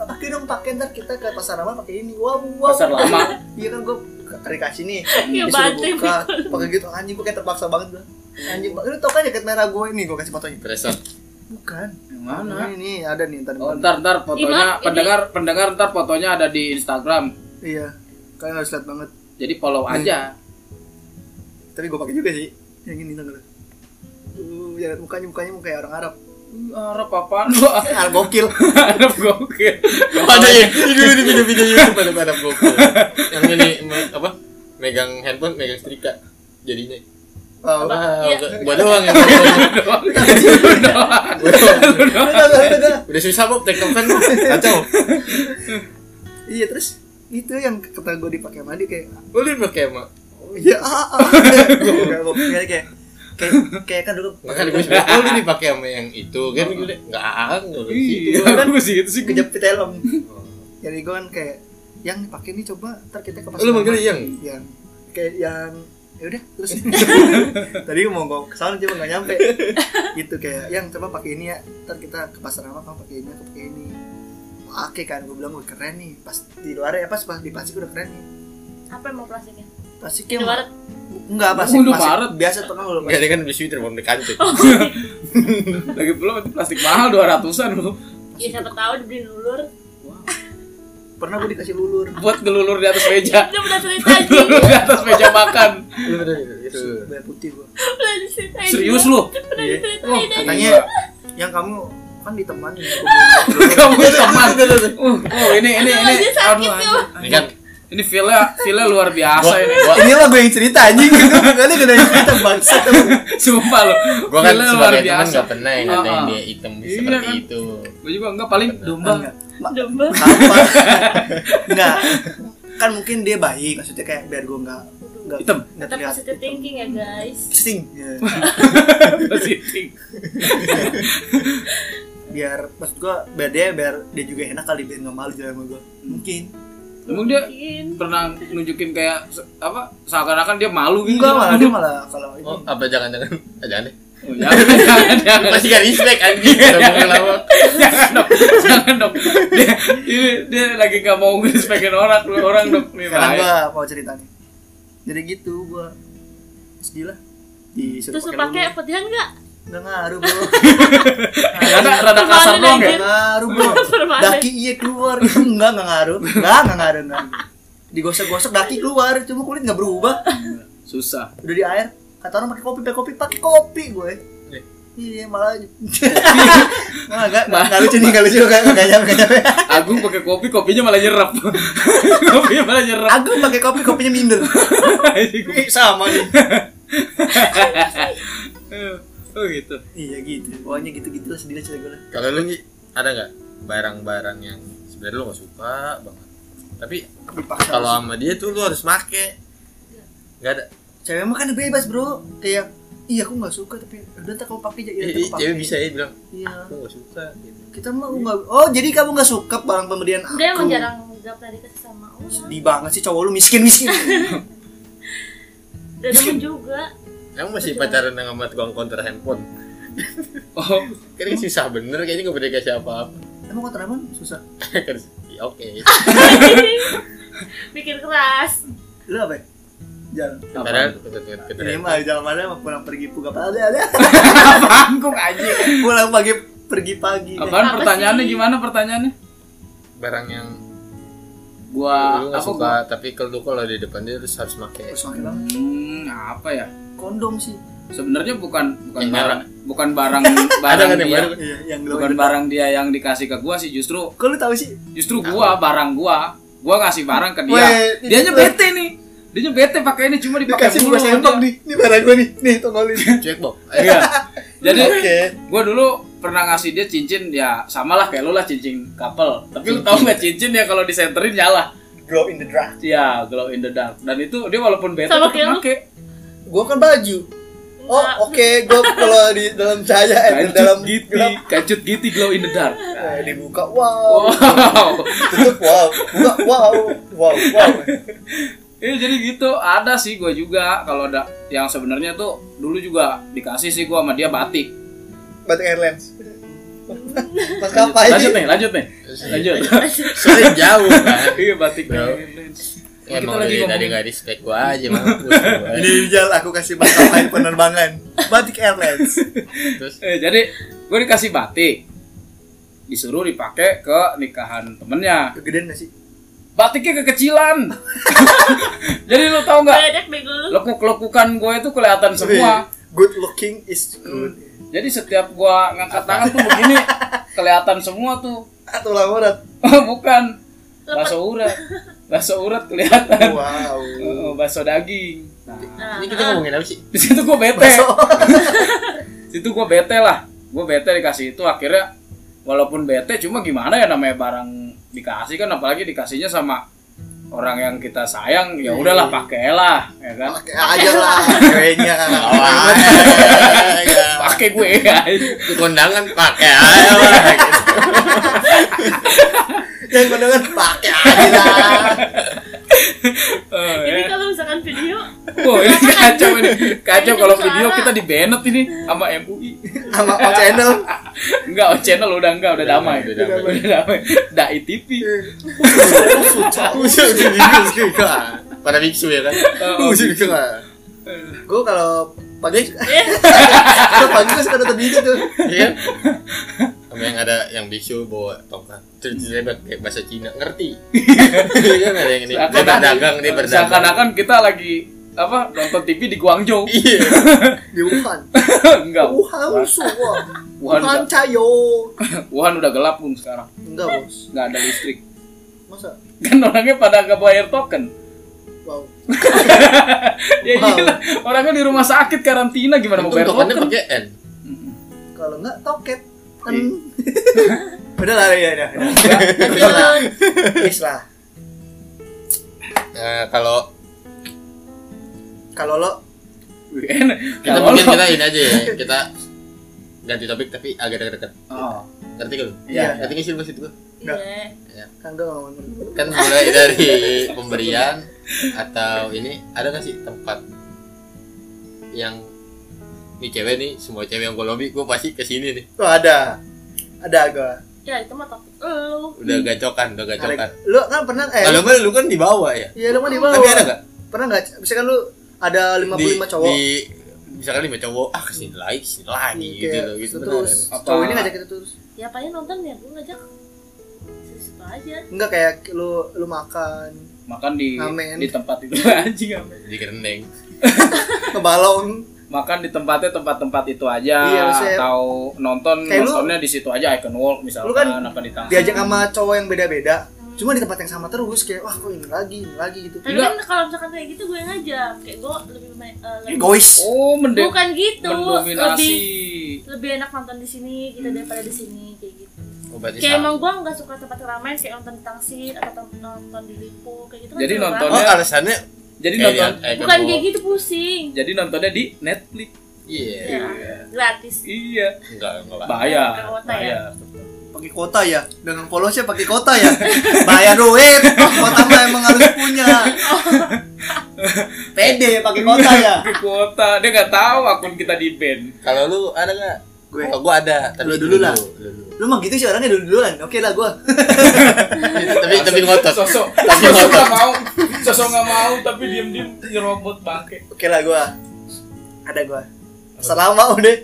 [SPEAKER 1] "Ah, pakai dong pakai ntar kita ke pasar lama pakai ini wow wow
[SPEAKER 3] pasar lama
[SPEAKER 1] iya kan gue dikasih nih
[SPEAKER 4] ya
[SPEAKER 1] disuruh
[SPEAKER 4] banting
[SPEAKER 1] buka pakai gitu anjing gue kayak terpaksa banget gue anjing lu tau kan jaket merah gue ini gue kasih fotonya
[SPEAKER 2] Teresan.
[SPEAKER 1] bukan
[SPEAKER 3] yang mana
[SPEAKER 1] ini, nih ada nih ntar di
[SPEAKER 3] oh
[SPEAKER 1] mana.
[SPEAKER 3] ntar ntar
[SPEAKER 4] Iman,
[SPEAKER 3] fotonya
[SPEAKER 4] ini-
[SPEAKER 3] pendengar pendengar ntar fotonya ada di Instagram
[SPEAKER 1] iya kalian harus lihat banget
[SPEAKER 3] jadi follow aja
[SPEAKER 1] tapi gue pakai juga sih yang ini ntar uh, jaket mukanya mukanya muka kayak orang Arab "Eh,
[SPEAKER 3] Arab apaan lu *laughs*
[SPEAKER 1] Arab gokil
[SPEAKER 3] Arab gokil
[SPEAKER 2] *laughs* Ada ya. Ini dulu di video-video YouTube ada pada gokil. Yang ini me- apa? Megang handphone, megang setrika. Jadinya.
[SPEAKER 1] Oh,
[SPEAKER 2] Wow,
[SPEAKER 4] Iya.
[SPEAKER 2] *laughs* gua doang yang Gua doang.
[SPEAKER 1] udah, udah, udah, udah.
[SPEAKER 2] Udah susah Bob TikTok kan Bob. Kacau.
[SPEAKER 1] *laughs* Iya terus itu yang kata gue dipakai mandi kayak
[SPEAKER 2] Lu lihat pakai emak.
[SPEAKER 1] oh, ya ah,
[SPEAKER 2] *laughs*
[SPEAKER 1] ah. Kayak gua- kayak kayak kayak kayak kan dulu
[SPEAKER 2] Makanya gue bilang, oh lu dipakai sama yang itu kan gue bilang, enggak, enggak gitu.
[SPEAKER 3] iya gue sih itu sih gua.
[SPEAKER 1] kejepit helm jadi gue kan kayak yang pakai nih coba ntar kita ke pasar
[SPEAKER 2] Lu manggil
[SPEAKER 1] malam."
[SPEAKER 2] yang?
[SPEAKER 1] yang kayak yang ya udah
[SPEAKER 2] *laughs*
[SPEAKER 1] terus tadi mau ngomong ke sana cuma nggak nyampe gitu kayak yang coba pakai ini ya ntar kita ke pasar lama kamu pakai ini aku pakai ini pakai kan gue bilang gue keren nih pas di luar ya pas pas di plastik udah keren nih
[SPEAKER 4] apa emang plastiknya
[SPEAKER 1] plastiknya
[SPEAKER 4] di barat
[SPEAKER 1] Enggak plastik,
[SPEAKER 3] Bulu
[SPEAKER 1] plastik
[SPEAKER 3] baret.
[SPEAKER 1] biasa tuh kan
[SPEAKER 2] Enggak dia kan beli sweater mau beli kancing.
[SPEAKER 3] lagi pula plastik mahal dua ratusan lu
[SPEAKER 4] ya siapa tahu dibeli lulur
[SPEAKER 1] Pernah gue dikasih lulur.
[SPEAKER 3] buat ngelulur di atas meja *laughs*
[SPEAKER 4] itu udah cerita aja
[SPEAKER 3] ngelulur di atas meja makan
[SPEAKER 1] Iya, Bayar putih gue.
[SPEAKER 4] udah cerita aja
[SPEAKER 3] serius lu
[SPEAKER 4] udah
[SPEAKER 1] Iya.
[SPEAKER 4] diceritain aja.
[SPEAKER 1] Katanya yang kamu kan
[SPEAKER 4] *laughs*
[SPEAKER 1] ditemani.
[SPEAKER 3] kamu teman Uh, oh ini ini
[SPEAKER 4] Aduh,
[SPEAKER 3] ini
[SPEAKER 4] aja sakit tuh.
[SPEAKER 3] anjing.
[SPEAKER 2] Ini kan
[SPEAKER 3] ini feelnya feelnya luar biasa
[SPEAKER 2] gua,
[SPEAKER 3] ini
[SPEAKER 2] gua,
[SPEAKER 1] Ini lah gue yang cerita anjing. Gue nih yang cerita bangsa.
[SPEAKER 3] sumpah lo
[SPEAKER 2] gua kan sebagai teman gak pernah yang ngatain
[SPEAKER 3] Ah, ah.
[SPEAKER 2] dia hitam
[SPEAKER 3] Iya
[SPEAKER 2] seperti
[SPEAKER 3] kan.
[SPEAKER 2] itu.
[SPEAKER 3] gue juga enggak paling domba
[SPEAKER 1] Enggak. Ma-
[SPEAKER 4] domba
[SPEAKER 1] Apa? Enggak. Kan mungkin dia baik. Maksudnya kayak biar gue enggak enggak
[SPEAKER 3] Hitam.
[SPEAKER 1] Enggak
[SPEAKER 4] tetap
[SPEAKER 1] terlihat.
[SPEAKER 4] positive thinking ya guys
[SPEAKER 1] Sting. Ya.
[SPEAKER 3] *laughs* positif
[SPEAKER 1] Biar maksud gue biar dia biar dia juga enak kali biar enggak malu jalan sama gue. Mungkin.
[SPEAKER 3] emang dia
[SPEAKER 4] mungkin
[SPEAKER 3] pernah nunjukin kayak se- apa seakan-akan dia malu gitu
[SPEAKER 1] Enggak malah dia malah kalau ini.
[SPEAKER 2] Oh, apa jangan-jangan? Ah, Jangan deh.
[SPEAKER 3] Oh, jangan *laughs* jangan jangan
[SPEAKER 2] Pasti gak respect anjing.
[SPEAKER 3] Iya.
[SPEAKER 2] Udah ngomong lama.
[SPEAKER 3] jangan dong jangan dong dia ini dia lagi nggak mau ngerespekin orang lu orang dong nih
[SPEAKER 1] Sekarang
[SPEAKER 3] bahaya.
[SPEAKER 1] gua mau cerita nih. Jadi gitu gua sedih lah. Disuruh
[SPEAKER 4] terus lu pakai putihan nggak
[SPEAKER 1] Enggak ngaruh, Bro.
[SPEAKER 4] *laughs*
[SPEAKER 3] karena rada kasar
[SPEAKER 4] Permanen
[SPEAKER 3] dong ya
[SPEAKER 4] aja.
[SPEAKER 1] Enggak ngaruh, Bro.
[SPEAKER 4] Permanen.
[SPEAKER 1] Daki iya keluar. *laughs* Itu enggak enggak ngaruh. Enggak enggak ngaruh enggak. Digosok-gosok daki keluar, cuma kulit enggak berubah.
[SPEAKER 3] susah
[SPEAKER 1] Udah di air. Kata orang pakai kopi, pakai kopi, pakai kopi gue.
[SPEAKER 2] Eh.
[SPEAKER 1] Iya, malah malah *laughs* enggak enggak lucu nih, enggak lucu enggak enggak nyampe, enggak nyampe.
[SPEAKER 3] Agung pakai kopi kopinya malah nyerap
[SPEAKER 1] *laughs*
[SPEAKER 3] kopinya malah nyerap
[SPEAKER 1] Aku pakai kopi, kopinya minder. Ih, sama nih.
[SPEAKER 3] *laughs* oh gitu
[SPEAKER 1] Iya gitu. Pokoknya gitu-gitu lah sedih lah cerita gue lah.
[SPEAKER 2] Kalau lu Nyi, ada nggak barang-barang yang sebenarnya lu gak suka banget? Tapi
[SPEAKER 1] Dipaksa.
[SPEAKER 2] kalau sama dia tuh lu harus make. Gak ada.
[SPEAKER 1] cewek mah kan bebas bro kayak iya aku nggak suka tapi udah ntar kamu pakai aja iya ntar
[SPEAKER 2] Jadi
[SPEAKER 1] aku pakai
[SPEAKER 2] cewek bisa ya bilang,
[SPEAKER 1] iya
[SPEAKER 2] aku gak suka. Gitu.
[SPEAKER 1] kita mah aku nggak oh jadi kamu nggak suka barang pemberian aku
[SPEAKER 4] dia emang jarang nggak pernah dikasih sama orang
[SPEAKER 1] sedih banget sih cowok lu miskin miskin
[SPEAKER 4] dan demen juga
[SPEAKER 2] Emang masih pacaran dengan sama tukang konter handphone?
[SPEAKER 3] oh
[SPEAKER 2] Kayaknya susah bener, kayaknya gak pernah kasih apa-apa.
[SPEAKER 1] emang kau teman susah
[SPEAKER 2] Kan, ya, *laughs* Oke.
[SPEAKER 4] pikir keras
[SPEAKER 1] lu apa ya? jalan
[SPEAKER 2] Sekarang
[SPEAKER 3] apaan
[SPEAKER 2] kita
[SPEAKER 1] ini mah jalan mana mah pulang pergi pulang pagi ada *laughs*
[SPEAKER 3] kok anjing
[SPEAKER 1] pulang pagi pergi pagi
[SPEAKER 3] apaan
[SPEAKER 4] Apa
[SPEAKER 3] pertanyaannya
[SPEAKER 4] sih?
[SPEAKER 3] gimana pertanyaannya
[SPEAKER 2] barang yang
[SPEAKER 3] gua apa
[SPEAKER 2] lu gak suka,
[SPEAKER 3] gua
[SPEAKER 2] tapi kalau lu kalau di depan dia terus harus make.
[SPEAKER 1] terus makin "Oh, banget
[SPEAKER 3] hmm, apa ya
[SPEAKER 1] kondom sih
[SPEAKER 3] sebenarnya bukan bukan
[SPEAKER 2] Yang
[SPEAKER 3] barang
[SPEAKER 2] *laughs*
[SPEAKER 3] bukan barang
[SPEAKER 2] Ada
[SPEAKER 3] barang
[SPEAKER 2] kan yang
[SPEAKER 3] dia
[SPEAKER 2] baru?
[SPEAKER 1] iya yang lu
[SPEAKER 3] bukan barang dia yang dikasih ke gua sih justru
[SPEAKER 1] kau lu tahu sih
[SPEAKER 3] justru gua barang gua gua ngasih barang ke dia
[SPEAKER 1] Weh,
[SPEAKER 3] dianya
[SPEAKER 1] ini-
[SPEAKER 3] bete nih dianya bete pakai ini cuma dipakai
[SPEAKER 1] dikasih
[SPEAKER 3] mulu
[SPEAKER 1] gua sendok
[SPEAKER 3] dia.
[SPEAKER 1] nih ini barang gua nih nih tongolin *laughs*
[SPEAKER 2] Cuek Bob.
[SPEAKER 3] Iya. jadi
[SPEAKER 1] oke
[SPEAKER 3] gua dulu pernah ngasih dia cincin ya samalah kayak lu lah cincin couple tapi lu tau nggak cincin ya kalau disenterin nyala
[SPEAKER 1] glow in the dark
[SPEAKER 3] ya glow in the dark dan itu dia walaupun bete
[SPEAKER 4] Sama
[SPEAKER 3] tetap
[SPEAKER 4] kayak lu.
[SPEAKER 3] make.
[SPEAKER 1] gua kan baju Oh
[SPEAKER 4] Enggak.
[SPEAKER 1] oke, gue kalau di dalam cahaya eh, di
[SPEAKER 3] kancut
[SPEAKER 1] dalam
[SPEAKER 3] giti
[SPEAKER 1] gelap
[SPEAKER 3] kancut giti glow in the dark
[SPEAKER 4] *laughs*
[SPEAKER 1] eh, dibuka wow,
[SPEAKER 3] wow
[SPEAKER 1] tutup wow, buka wow, wow, wow.
[SPEAKER 3] Iya jadi gitu ada sih gue juga kalau ada yang sebenarnya tuh dulu juga dikasih sih gue sama dia batik.
[SPEAKER 1] Batik Airlines. Mas
[SPEAKER 3] Lanjut,
[SPEAKER 1] kapai
[SPEAKER 3] lanjut nih, lanjut nih,
[SPEAKER 1] Iya.
[SPEAKER 3] lanjut. *laughs*
[SPEAKER 2] *laughs* Soalnya jauh kan.
[SPEAKER 3] iya batik.
[SPEAKER 2] Bro.
[SPEAKER 3] Ya,
[SPEAKER 2] Ya
[SPEAKER 3] kita
[SPEAKER 2] mau
[SPEAKER 3] lagi
[SPEAKER 2] dari
[SPEAKER 3] ngomongin-
[SPEAKER 2] tadi nggak di spek gua aja mampus gua.
[SPEAKER 1] Ini Rijal aku kasih mas kapai penerbangan. Batik Airlines.
[SPEAKER 2] Terus
[SPEAKER 3] Eh, jadi gue dikasih batik, disuruh dipakai ke nikahan temennya.
[SPEAKER 1] Kegedean gak sih?
[SPEAKER 3] Batiknya kekecilan. *laughs* jadi lu tau nggak?
[SPEAKER 4] Badak bego lu.
[SPEAKER 3] Lekuk-lekukan gue itu kelihatan semua.
[SPEAKER 1] Good looking is good.
[SPEAKER 3] Jadi setiap gue ngangkat tangan tuh begini kelihatan semua tuh. *laughs* Oh,
[SPEAKER 1] Atau lah urat.
[SPEAKER 3] Bukan. Bakso urat. Bakso urat
[SPEAKER 1] *laughs*
[SPEAKER 3] kelihatan.
[SPEAKER 1] Wow.
[SPEAKER 3] Oh, bakso daging. Nah,
[SPEAKER 4] Nah,
[SPEAKER 2] ini kita
[SPEAKER 4] ah,
[SPEAKER 2] ngomongin apa *laughs* sih?
[SPEAKER 3] di situ gue bete.
[SPEAKER 1] Besok.
[SPEAKER 3] situ gue bete lah. Gue bete dikasih itu akhirnya walaupun bete cuma gimana ya namanya barang dikasih kan apalagi dikasihnya sama orang yang kita sayang ya udahlah pakailah ya kan
[SPEAKER 1] Pakai aja lah kayaknya.
[SPEAKER 2] Oh,
[SPEAKER 3] pakai gue ya *laughs*
[SPEAKER 2] Di kondangan pakai aja lah.
[SPEAKER 1] Yang mendengar pakai aja lah.
[SPEAKER 3] Eh,
[SPEAKER 4] ini
[SPEAKER 3] ya.
[SPEAKER 4] kalau misalkan video
[SPEAKER 3] Wah, ini *laughs* kacau ini kacau
[SPEAKER 4] Ini
[SPEAKER 3] kalau
[SPEAKER 4] jadi
[SPEAKER 3] video
[SPEAKER 4] suara.
[SPEAKER 3] kita di banet ini sama MUI
[SPEAKER 1] Sama on channel.
[SPEAKER 3] *laughs* enggak on channel udah enggak udah damai
[SPEAKER 2] Udah damai.
[SPEAKER 3] udah damai *laughs* dai TV
[SPEAKER 2] Udah udah bingung sih kan. Pada biksu ya kan.
[SPEAKER 3] Oh,
[SPEAKER 1] Gue kalau pagi kalau *laughs* pagi gue suka nonton gitu tuh.
[SPEAKER 3] *laughs*
[SPEAKER 2] Iya. Sama yang ada yang biksu bawa tongkat.
[SPEAKER 3] Hmm.
[SPEAKER 2] Terus dia pakai bahasa Cina
[SPEAKER 3] *laughs*
[SPEAKER 2] ngerti. Iya kan ada yang ini. Dia
[SPEAKER 3] Seakan-
[SPEAKER 2] berdagang, dia berdagang.
[SPEAKER 3] seakan-akan kita lagi apa nonton TV di Guangzhou *laughs*
[SPEAKER 2] Iya.
[SPEAKER 1] Di Wuhan.
[SPEAKER 3] enggak
[SPEAKER 1] Wuhan
[SPEAKER 3] Wuhan
[SPEAKER 1] semua.
[SPEAKER 3] Wuhan
[SPEAKER 1] Wuhan
[SPEAKER 3] udah,
[SPEAKER 1] cayo.
[SPEAKER 3] Wuhan udah gelap pun sekarang
[SPEAKER 1] Enggak bos.
[SPEAKER 3] nggak ada listrik
[SPEAKER 1] Masa?
[SPEAKER 3] kan orangnya pada nggak bayar token
[SPEAKER 1] Wow.
[SPEAKER 3] *laughs* ya
[SPEAKER 1] Wow.
[SPEAKER 3] gila orangnya di rumah sakit karantina gimana mau
[SPEAKER 2] Untung
[SPEAKER 3] bayar
[SPEAKER 2] tokennya
[SPEAKER 3] token
[SPEAKER 2] pakai N.
[SPEAKER 1] Kalau enggak toket. Kan.
[SPEAKER 3] Iya.
[SPEAKER 1] *laughs* Udah lah ya udah.
[SPEAKER 4] video
[SPEAKER 1] Udah. Yes lah.
[SPEAKER 2] Nah, kalau
[SPEAKER 3] Ya,
[SPEAKER 1] Kalau lo
[SPEAKER 3] Wih,
[SPEAKER 1] *laughs*
[SPEAKER 3] enak
[SPEAKER 2] kita
[SPEAKER 3] Kalau
[SPEAKER 2] mungkin
[SPEAKER 3] lo-
[SPEAKER 2] kita ini aja ya kita ganti topik tapi agak dekat-dekat
[SPEAKER 3] oh,
[SPEAKER 2] ngerti kan lu?
[SPEAKER 1] Iya.
[SPEAKER 3] ya,
[SPEAKER 2] ngerti nggak sih lu maksud gua
[SPEAKER 1] Enggak.
[SPEAKER 4] Iya.
[SPEAKER 1] kan gue ngomongin
[SPEAKER 2] kan mulai dari pemberian atau ini ada nggak sih tempat yang nih cewek nih semua cewek yang gue lobby gue pasti kesini nih
[SPEAKER 1] Tuh ada. Ada gue.
[SPEAKER 4] ya itu mah topik lu
[SPEAKER 2] udah
[SPEAKER 3] Hmm.
[SPEAKER 2] gacokan udah gacokan
[SPEAKER 1] Lu kan pernah eh
[SPEAKER 2] kalau nggak lu kan di bawah ya
[SPEAKER 1] Iya lu mah di bawah.
[SPEAKER 2] tapi ada nggak
[SPEAKER 1] Pernah enggak? Misalkan lu ada 55
[SPEAKER 2] di,
[SPEAKER 1] cowok.
[SPEAKER 2] di misalkan lima cowok ah kesini lagi kesini lagi
[SPEAKER 1] Iya,
[SPEAKER 2] gitu loh gitu
[SPEAKER 1] terus
[SPEAKER 2] beneran.
[SPEAKER 3] Apa-
[SPEAKER 1] cowok ini ngajak kita terus
[SPEAKER 4] ya paling nonton ya gue ngajak suka aja
[SPEAKER 1] enggak kayak lu lu makan
[SPEAKER 3] makan di
[SPEAKER 1] Amin.
[SPEAKER 3] di tempat itu *laughs* anjing amin.
[SPEAKER 2] di kerendeng
[SPEAKER 1] ngebalon
[SPEAKER 3] makan di tempatnya tempat-tempat itu aja
[SPEAKER 1] Iya, maksudnya-
[SPEAKER 3] atau nonton
[SPEAKER 1] Kayak lu-
[SPEAKER 3] nontonnya di situ aja Icon Walk misalkan
[SPEAKER 1] Lu kan
[SPEAKER 3] apa di Taman.
[SPEAKER 1] diajak sama cowok yang beda-beda cuma di tempat yang sama terus kayak wah kok ini lagi ini lagi gitu
[SPEAKER 4] tapi
[SPEAKER 3] Enggak.
[SPEAKER 4] kan kalau misalkan kayak gitu gue ngajak kayak gue lebih main eh, lebih-
[SPEAKER 1] egois
[SPEAKER 3] oh mendek
[SPEAKER 4] bukan gitu
[SPEAKER 3] mendominasi
[SPEAKER 4] lebih lebih enak nonton di sini gitu daripada di sini kayak gitu
[SPEAKER 2] obatnya
[SPEAKER 4] kayak emang gue nggak suka tempat ramai kayak nonton di tangsir atau nonton- nonton di lipo kayak gitu kan
[SPEAKER 3] Jadi
[SPEAKER 4] seru
[SPEAKER 3] nonton-
[SPEAKER 2] oh
[SPEAKER 4] banget.
[SPEAKER 2] alasannya
[SPEAKER 3] jadi
[SPEAKER 2] kayak
[SPEAKER 3] nonton
[SPEAKER 2] lihat
[SPEAKER 4] bukan
[SPEAKER 2] Icon
[SPEAKER 4] kayak
[SPEAKER 2] Walk.
[SPEAKER 4] gitu pusing
[SPEAKER 3] jadi nontonnya di Netflix
[SPEAKER 2] iya
[SPEAKER 4] ya gratis
[SPEAKER 3] iya
[SPEAKER 2] enggak enggak lah.
[SPEAKER 3] bayar
[SPEAKER 4] Pakai kuota ya?
[SPEAKER 3] bayar
[SPEAKER 1] pakai kota ya dengan polosnya pakai kota ya *laughs* bayar duit kota mah emang harus punya pede pakai kota ya
[SPEAKER 3] Pakai kuota dia nggak tahu akun kita di band
[SPEAKER 2] Kalau lu ada nggak?
[SPEAKER 1] Gue.
[SPEAKER 2] Oh, gua ada. Tapi
[SPEAKER 1] Lu dulu lah.
[SPEAKER 2] Lu dulu.
[SPEAKER 1] lu mah gitu sih orangnya dulu duluan oke lah gua
[SPEAKER 2] tapi tapi ngotot.
[SPEAKER 3] sosok
[SPEAKER 2] Tapi
[SPEAKER 3] sosok
[SPEAKER 2] ngotot.
[SPEAKER 3] nggak mau sosok nggak mau tapi diem diem nyerobot bangke
[SPEAKER 1] oke lah gua ada gua selama udah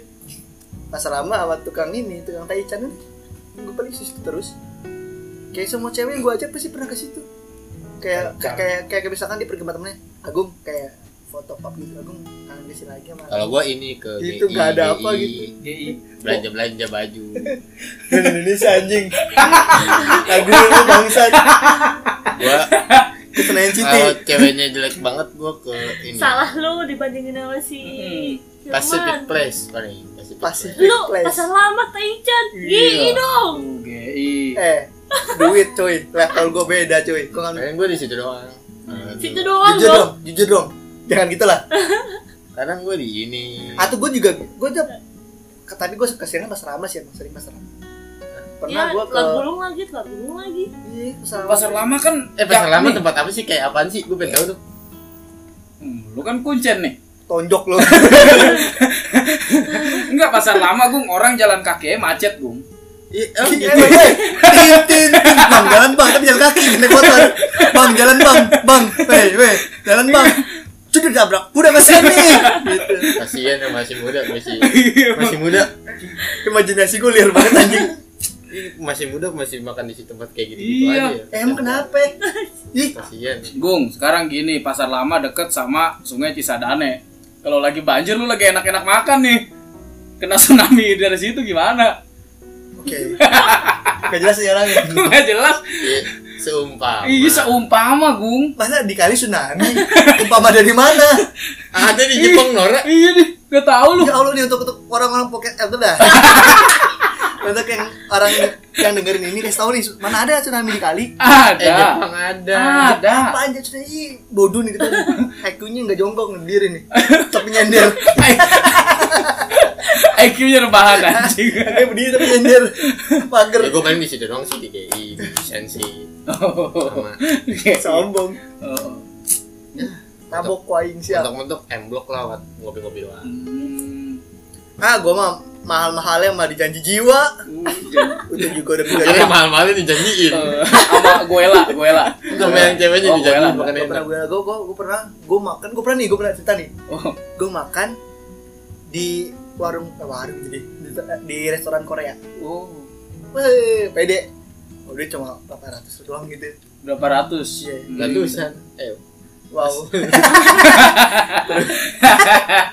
[SPEAKER 1] pas lama sama tukang ini tukang taichan gue paling situ terus kayak semua cewek yang gue ajak pasti pernah ke situ kayak kayak kayak, kayak misalkan dia pergi sama temennya Agung kayak foto pop gitu Agung kangen di sini lagi sama
[SPEAKER 2] Kalau gua ini ke
[SPEAKER 1] Itu
[SPEAKER 2] GI,
[SPEAKER 1] nggak ada apa
[SPEAKER 2] GI,
[SPEAKER 1] gitu.
[SPEAKER 3] GI
[SPEAKER 2] Belanja belanja
[SPEAKER 1] *laughs*
[SPEAKER 2] baju.
[SPEAKER 1] Di Indonesia anjing lagu lu bangsa
[SPEAKER 2] gua
[SPEAKER 1] ke Senayan City
[SPEAKER 2] kalau ceweknya jelek banget gua ke ini.
[SPEAKER 4] salah lu dibandingin sama si
[SPEAKER 3] Hmm.
[SPEAKER 4] Hilman.
[SPEAKER 2] Pacific Place paling. Pacific. Place.
[SPEAKER 1] Pacific
[SPEAKER 4] lu
[SPEAKER 1] Place
[SPEAKER 4] pasar lama Taichan
[SPEAKER 3] Iya.
[SPEAKER 4] gini dong
[SPEAKER 3] Oh, GI
[SPEAKER 1] eh duit cuy level gue beda cuy gue kan
[SPEAKER 2] Paling gua di situ doang. Nah,
[SPEAKER 4] situ
[SPEAKER 2] dulu.
[SPEAKER 1] jujur
[SPEAKER 4] doang dong
[SPEAKER 1] Iya dong jujur dong jangan gitu gitulah
[SPEAKER 2] Kadang gua di ini.
[SPEAKER 1] atau gue juga gue tuh tapi gue keseringan pas Rama sih emang ya, sering pas Rama pernah
[SPEAKER 4] ya,
[SPEAKER 1] gue ke
[SPEAKER 4] Tulang Gulung lagi, Tulang Gulung lagi.
[SPEAKER 1] Iya,
[SPEAKER 3] pasar lama kan
[SPEAKER 2] Eh pasar lama
[SPEAKER 3] nih,
[SPEAKER 2] tempat apa sih kayak apaan sih? Gua pengen tahu tuh.
[SPEAKER 3] lu kan kuncen nih
[SPEAKER 1] tonjok lo
[SPEAKER 3] enggak pasar lama gung orang jalan kaki aja macet gung
[SPEAKER 2] *laughs* Iya,
[SPEAKER 1] Iya, iya, iya. Tin, tin, tin. bang jalan bang tapi jalan kaki naik motor bang jalan bang bang weh weh jalan bang sudah ditabrak udah kesian nih gitu.
[SPEAKER 2] kasihan yang masih muda
[SPEAKER 3] *laughs*
[SPEAKER 2] masih
[SPEAKER 3] Iya,
[SPEAKER 2] masih muda
[SPEAKER 1] imajinasi gue liar banget anjing
[SPEAKER 2] Ih, masih muda masih makan di tempat kayak gitu
[SPEAKER 3] Iya.
[SPEAKER 2] aja ya.
[SPEAKER 1] eh, emang kenapa ih
[SPEAKER 2] kasihan
[SPEAKER 3] gung sekarang gini pasar lama deket sama sungai Cisadane kalau lagi banjir lu lagi enak-enak makan nih kena tsunami dari situ gimana *laughs*
[SPEAKER 1] oke gak jelas nih orangnya
[SPEAKER 3] nggak jelas
[SPEAKER 2] Iya, seumpama
[SPEAKER 3] iya seumpama gung
[SPEAKER 1] masa dikali tsunami umpama dari mana
[SPEAKER 2] ada di Jepang Nora
[SPEAKER 3] iya nih nggak tahu lu
[SPEAKER 1] ya
[SPEAKER 2] Eh,
[SPEAKER 1] Allah nih untuk untuk orang-orang pocket elder dah untuk yang orang yang dengerin ini kasih tahu nih mana ada tsunami dikali
[SPEAKER 2] eh
[SPEAKER 3] ada Ah.
[SPEAKER 2] Jepang ada
[SPEAKER 3] ada
[SPEAKER 1] apa aja sudah ih bodoh nih kita nih. IQ-nya nggak jongkok ngediri nih tapi nyender
[SPEAKER 3] *laughs* IQ-nya rebahan anjing
[SPEAKER 1] kayak berdiri tapi nyender pagar
[SPEAKER 2] ya gue main di situ doang sih di GI di Sensi
[SPEAKER 3] Oh.
[SPEAKER 2] sama
[SPEAKER 3] Oke.
[SPEAKER 1] sombong
[SPEAKER 3] Oh.
[SPEAKER 1] tabok kuaing siap
[SPEAKER 2] mentok-mentok M Block lah buat ngopi-ngopi doang
[SPEAKER 3] Hmm.
[SPEAKER 1] ah gua mah mahal-mahalnya mah dijanji jiwa itu juga udah
[SPEAKER 2] karena
[SPEAKER 1] bilang
[SPEAKER 2] mahal-mahalnya dijanjiin
[SPEAKER 3] Eh, sama Goela, Goela.
[SPEAKER 2] sama yang ceweknya
[SPEAKER 3] Oh,
[SPEAKER 2] dijanjiin
[SPEAKER 3] gue
[SPEAKER 2] makan
[SPEAKER 1] gak
[SPEAKER 2] enak
[SPEAKER 1] pernah gue gue gue pernah gue makan gue pernah nih gue pernah cerita nih
[SPEAKER 3] Oh,
[SPEAKER 1] gue makan di warung eh, warung jadi di, di restoran Korea
[SPEAKER 3] oh.
[SPEAKER 1] Weh, pede udah cuma 800 doang gitu
[SPEAKER 3] Berapa ratus?
[SPEAKER 1] Iya.
[SPEAKER 3] Hmm.
[SPEAKER 2] Ratusan Eh
[SPEAKER 3] *laughs*
[SPEAKER 1] wow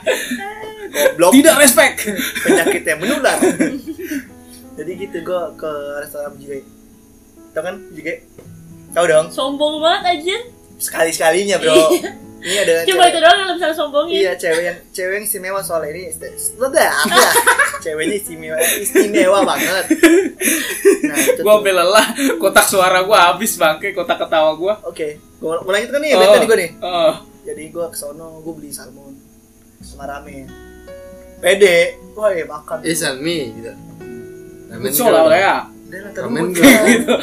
[SPEAKER 1] goblok
[SPEAKER 3] Tidak respect.
[SPEAKER 1] *laughs* penyakit yang menular jadi gitu gue ke restoran Jige tau kan Jige tau dong
[SPEAKER 4] Sombong banget aja.
[SPEAKER 1] sekali sekalinya
[SPEAKER 3] Iya.
[SPEAKER 1] bro ini ada
[SPEAKER 4] Cuma
[SPEAKER 1] cewek
[SPEAKER 4] itu doang yang bisa sombongin.
[SPEAKER 1] iya cewek yang cewek yang istimewa soalnya ini iste- udah apa ya? ceweknya istimewa istimewa banget nah itu tuh.
[SPEAKER 3] Gua sampe lelah, kotak suara gua habis bangke, kotak ketawa gua.
[SPEAKER 1] oke gue mulai gitu kan nih balik tadi gue nih
[SPEAKER 3] Oh.
[SPEAKER 1] jadi gue kesono gue beli salmon sama ramen pede wah ya makan
[SPEAKER 2] Is on me gitu Ramen
[SPEAKER 3] Kutsul lah
[SPEAKER 2] girl
[SPEAKER 3] ya.
[SPEAKER 1] udah lah
[SPEAKER 2] Ramen Gitu.
[SPEAKER 1] terus *laughs*
[SPEAKER 2] gua.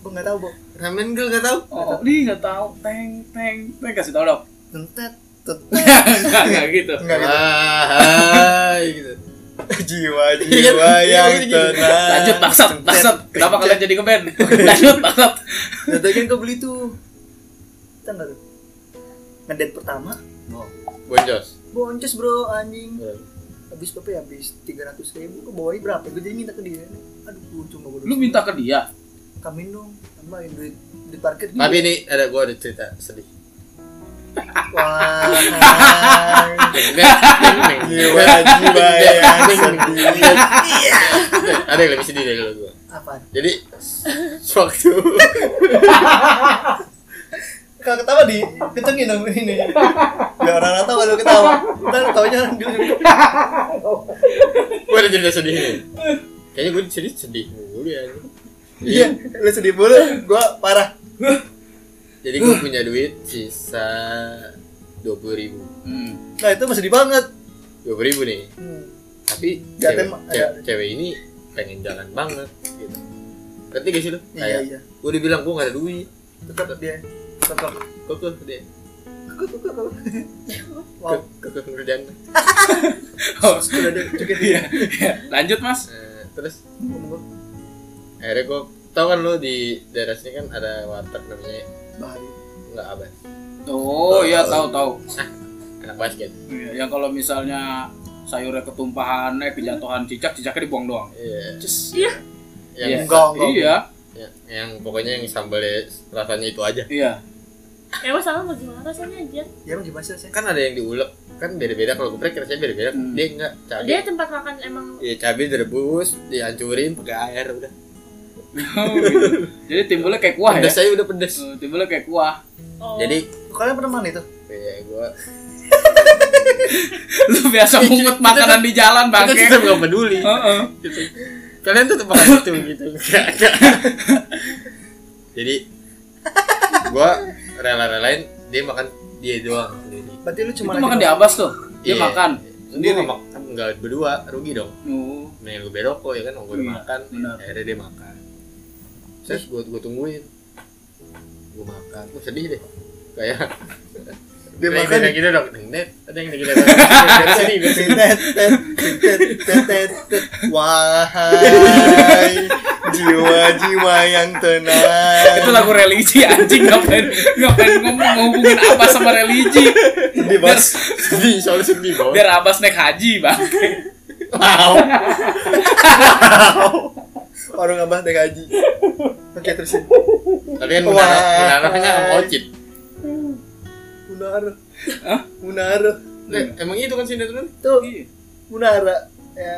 [SPEAKER 1] gue nggak tahu bu
[SPEAKER 2] Ramen girl gak tau
[SPEAKER 3] Oh, dia nggak tahu. Teng, teng, teng kasih tau
[SPEAKER 1] *laughs*
[SPEAKER 3] dong.
[SPEAKER 1] tentet
[SPEAKER 3] Nggak, nggak gitu.
[SPEAKER 1] Enggak gitu.
[SPEAKER 2] Ah,
[SPEAKER 1] *laughs*
[SPEAKER 2] hai gitu
[SPEAKER 1] Jiwa-jiwa yang
[SPEAKER 2] Iya, iya, gitu.
[SPEAKER 1] tenang.
[SPEAKER 3] Lanjut bangsat, bangsat. Kenapa kalian jadi ke band? Lanjut bangsat.
[SPEAKER 1] Nah, tadi kan kau beli tuh. Kita enggak tuh. Ngedate pertama,
[SPEAKER 2] Bonjos
[SPEAKER 1] boncos bro anjing. Habis PP habis 300 ribu ke bawahnya berapa? Gue jadi minta ke dia. Aduh, untung gak bodoh.
[SPEAKER 3] Lu minta ke dia.
[SPEAKER 1] kamin dong, tambahin duit di parkir.
[SPEAKER 2] Tapi ini ada gue ada cerita sedih
[SPEAKER 1] Wah. *laughs*
[SPEAKER 2] Deng, deng, deng, deng.
[SPEAKER 1] Iya, Jiwa-jiwa yang sedih.
[SPEAKER 2] Ada yang lebih sedih dari lo gue
[SPEAKER 1] Apaan?
[SPEAKER 2] Jadi *laughs* Sewaktu
[SPEAKER 1] Kalau ketawa di kencengin dong ini. Ya orang-orang tahu kalau ketawa. Ntar taunya orang dulu.
[SPEAKER 2] Gue ada cerita sedih nih Kayaknya gue sedih sedih mulu ya
[SPEAKER 1] Iya, lu sedih mulu, gua parah.
[SPEAKER 2] Jadi gue
[SPEAKER 1] Uh.
[SPEAKER 2] punya duit sisa dua puluh ribu
[SPEAKER 3] Hmm.
[SPEAKER 1] Nah, itu masih sedih banget.
[SPEAKER 2] dua puluh ribu nih tapi
[SPEAKER 1] Ya,
[SPEAKER 2] cewek,
[SPEAKER 1] tem-
[SPEAKER 2] cewek,
[SPEAKER 1] ada-
[SPEAKER 2] cewek ini pengen jalan banget gitu ngerti gak sih
[SPEAKER 1] Iya,
[SPEAKER 2] lu kayak
[SPEAKER 1] iya.
[SPEAKER 2] gue dibilang gue gak ada duit
[SPEAKER 1] Tetap dia tetap
[SPEAKER 2] kok tuh deh
[SPEAKER 1] wow
[SPEAKER 2] kok kok kerjaan
[SPEAKER 3] Oh, *laughs*
[SPEAKER 1] sudah ada cukup
[SPEAKER 3] iya. iya. Lanjut, Mas.
[SPEAKER 2] Eh, terus akhirnya gue tau kan lu di daerah sini kan ada warteg namanya
[SPEAKER 1] Bali
[SPEAKER 2] nggak apa
[SPEAKER 3] Oh, iya tahu tahu.
[SPEAKER 2] anak basket
[SPEAKER 3] Iya, yang kalau misalnya sayurnya ketumpahan, eh kejatuhan cicak, cicaknya dibuang doang.
[SPEAKER 2] iya
[SPEAKER 3] Cus.
[SPEAKER 4] Iya.
[SPEAKER 2] yang
[SPEAKER 3] Iya.
[SPEAKER 1] enggak enggak
[SPEAKER 3] Iya,
[SPEAKER 2] ya- yang pokoknya yang sambalnya rasanya itu aja
[SPEAKER 3] *laughs* iya.
[SPEAKER 4] Emang sama Eh, mau gimana rasanya aja?
[SPEAKER 1] ya emang gimana sih rasanya?
[SPEAKER 2] kan ada yang diulek kan beda-beda kalau geprek rasanya beda-beda
[SPEAKER 3] Hmm.
[SPEAKER 2] dia enggak cabai
[SPEAKER 4] Dia tempat makan emang
[SPEAKER 2] ya cabai direbus dihancurin pakai air udah
[SPEAKER 3] Oh, gitu. Jadi timbulnya kayak kuah ya.
[SPEAKER 2] pedes aja udah pedes
[SPEAKER 3] Eh, Timbulnya kayak kuah. *laughs*
[SPEAKER 4] oh.
[SPEAKER 2] jadi
[SPEAKER 1] kalian pernah makan itu
[SPEAKER 2] ya gue
[SPEAKER 3] Lu biasa mungut makanan di jalan,
[SPEAKER 2] kita tetap
[SPEAKER 3] Bang.
[SPEAKER 2] nggak peduli
[SPEAKER 3] Heeh.
[SPEAKER 2] gitu. kalian tetap makan itu gitu Nggak, nggak. jadi gue rela-relain dia makan dia doang sendiri
[SPEAKER 1] berarti lu cuma
[SPEAKER 3] Itu makan di Abbas tuh. Dia
[SPEAKER 2] Iya.
[SPEAKER 3] makan
[SPEAKER 2] sendiri
[SPEAKER 3] sendiri.
[SPEAKER 2] makan nggak berdua rugi dong
[SPEAKER 3] Oh.
[SPEAKER 2] mending gue berokok ya kan gue udah
[SPEAKER 3] Iya,
[SPEAKER 2] makan
[SPEAKER 3] benar.
[SPEAKER 2] akhirnya dia makan terus gue gue tungguin gue makan gue sedih deh kayak
[SPEAKER 1] dia
[SPEAKER 3] Iya,
[SPEAKER 2] Ada yang
[SPEAKER 1] makan
[SPEAKER 2] bilang gitu dong, "Deng, Dad." ada yang bilang gitu dong, sini, biar
[SPEAKER 1] *laughs*
[SPEAKER 2] sini.
[SPEAKER 1] Tetet, tet, tetet, tetet, tet. Wahai jiwa-jiwa yang tenang
[SPEAKER 3] itu lagu religi *laughs* anjing ngapain ngapain ngomong ngomongin apa sama religi
[SPEAKER 1] Di
[SPEAKER 3] biar,
[SPEAKER 1] bas
[SPEAKER 2] Sedih, soalnya sedih, Bos.
[SPEAKER 3] biar abas naik haji *laughs* bang
[SPEAKER 2] Wow.
[SPEAKER 1] Orang abah naik haji Oke terusin
[SPEAKER 2] Tapi kan menara, menaranya oh, sama Ocit.
[SPEAKER 4] Hmm.
[SPEAKER 1] Munaro
[SPEAKER 3] Hah?
[SPEAKER 1] Munaro
[SPEAKER 2] Eh, Emang itu kan sinetron?
[SPEAKER 1] Tuh
[SPEAKER 3] Iya.
[SPEAKER 1] Munara ya,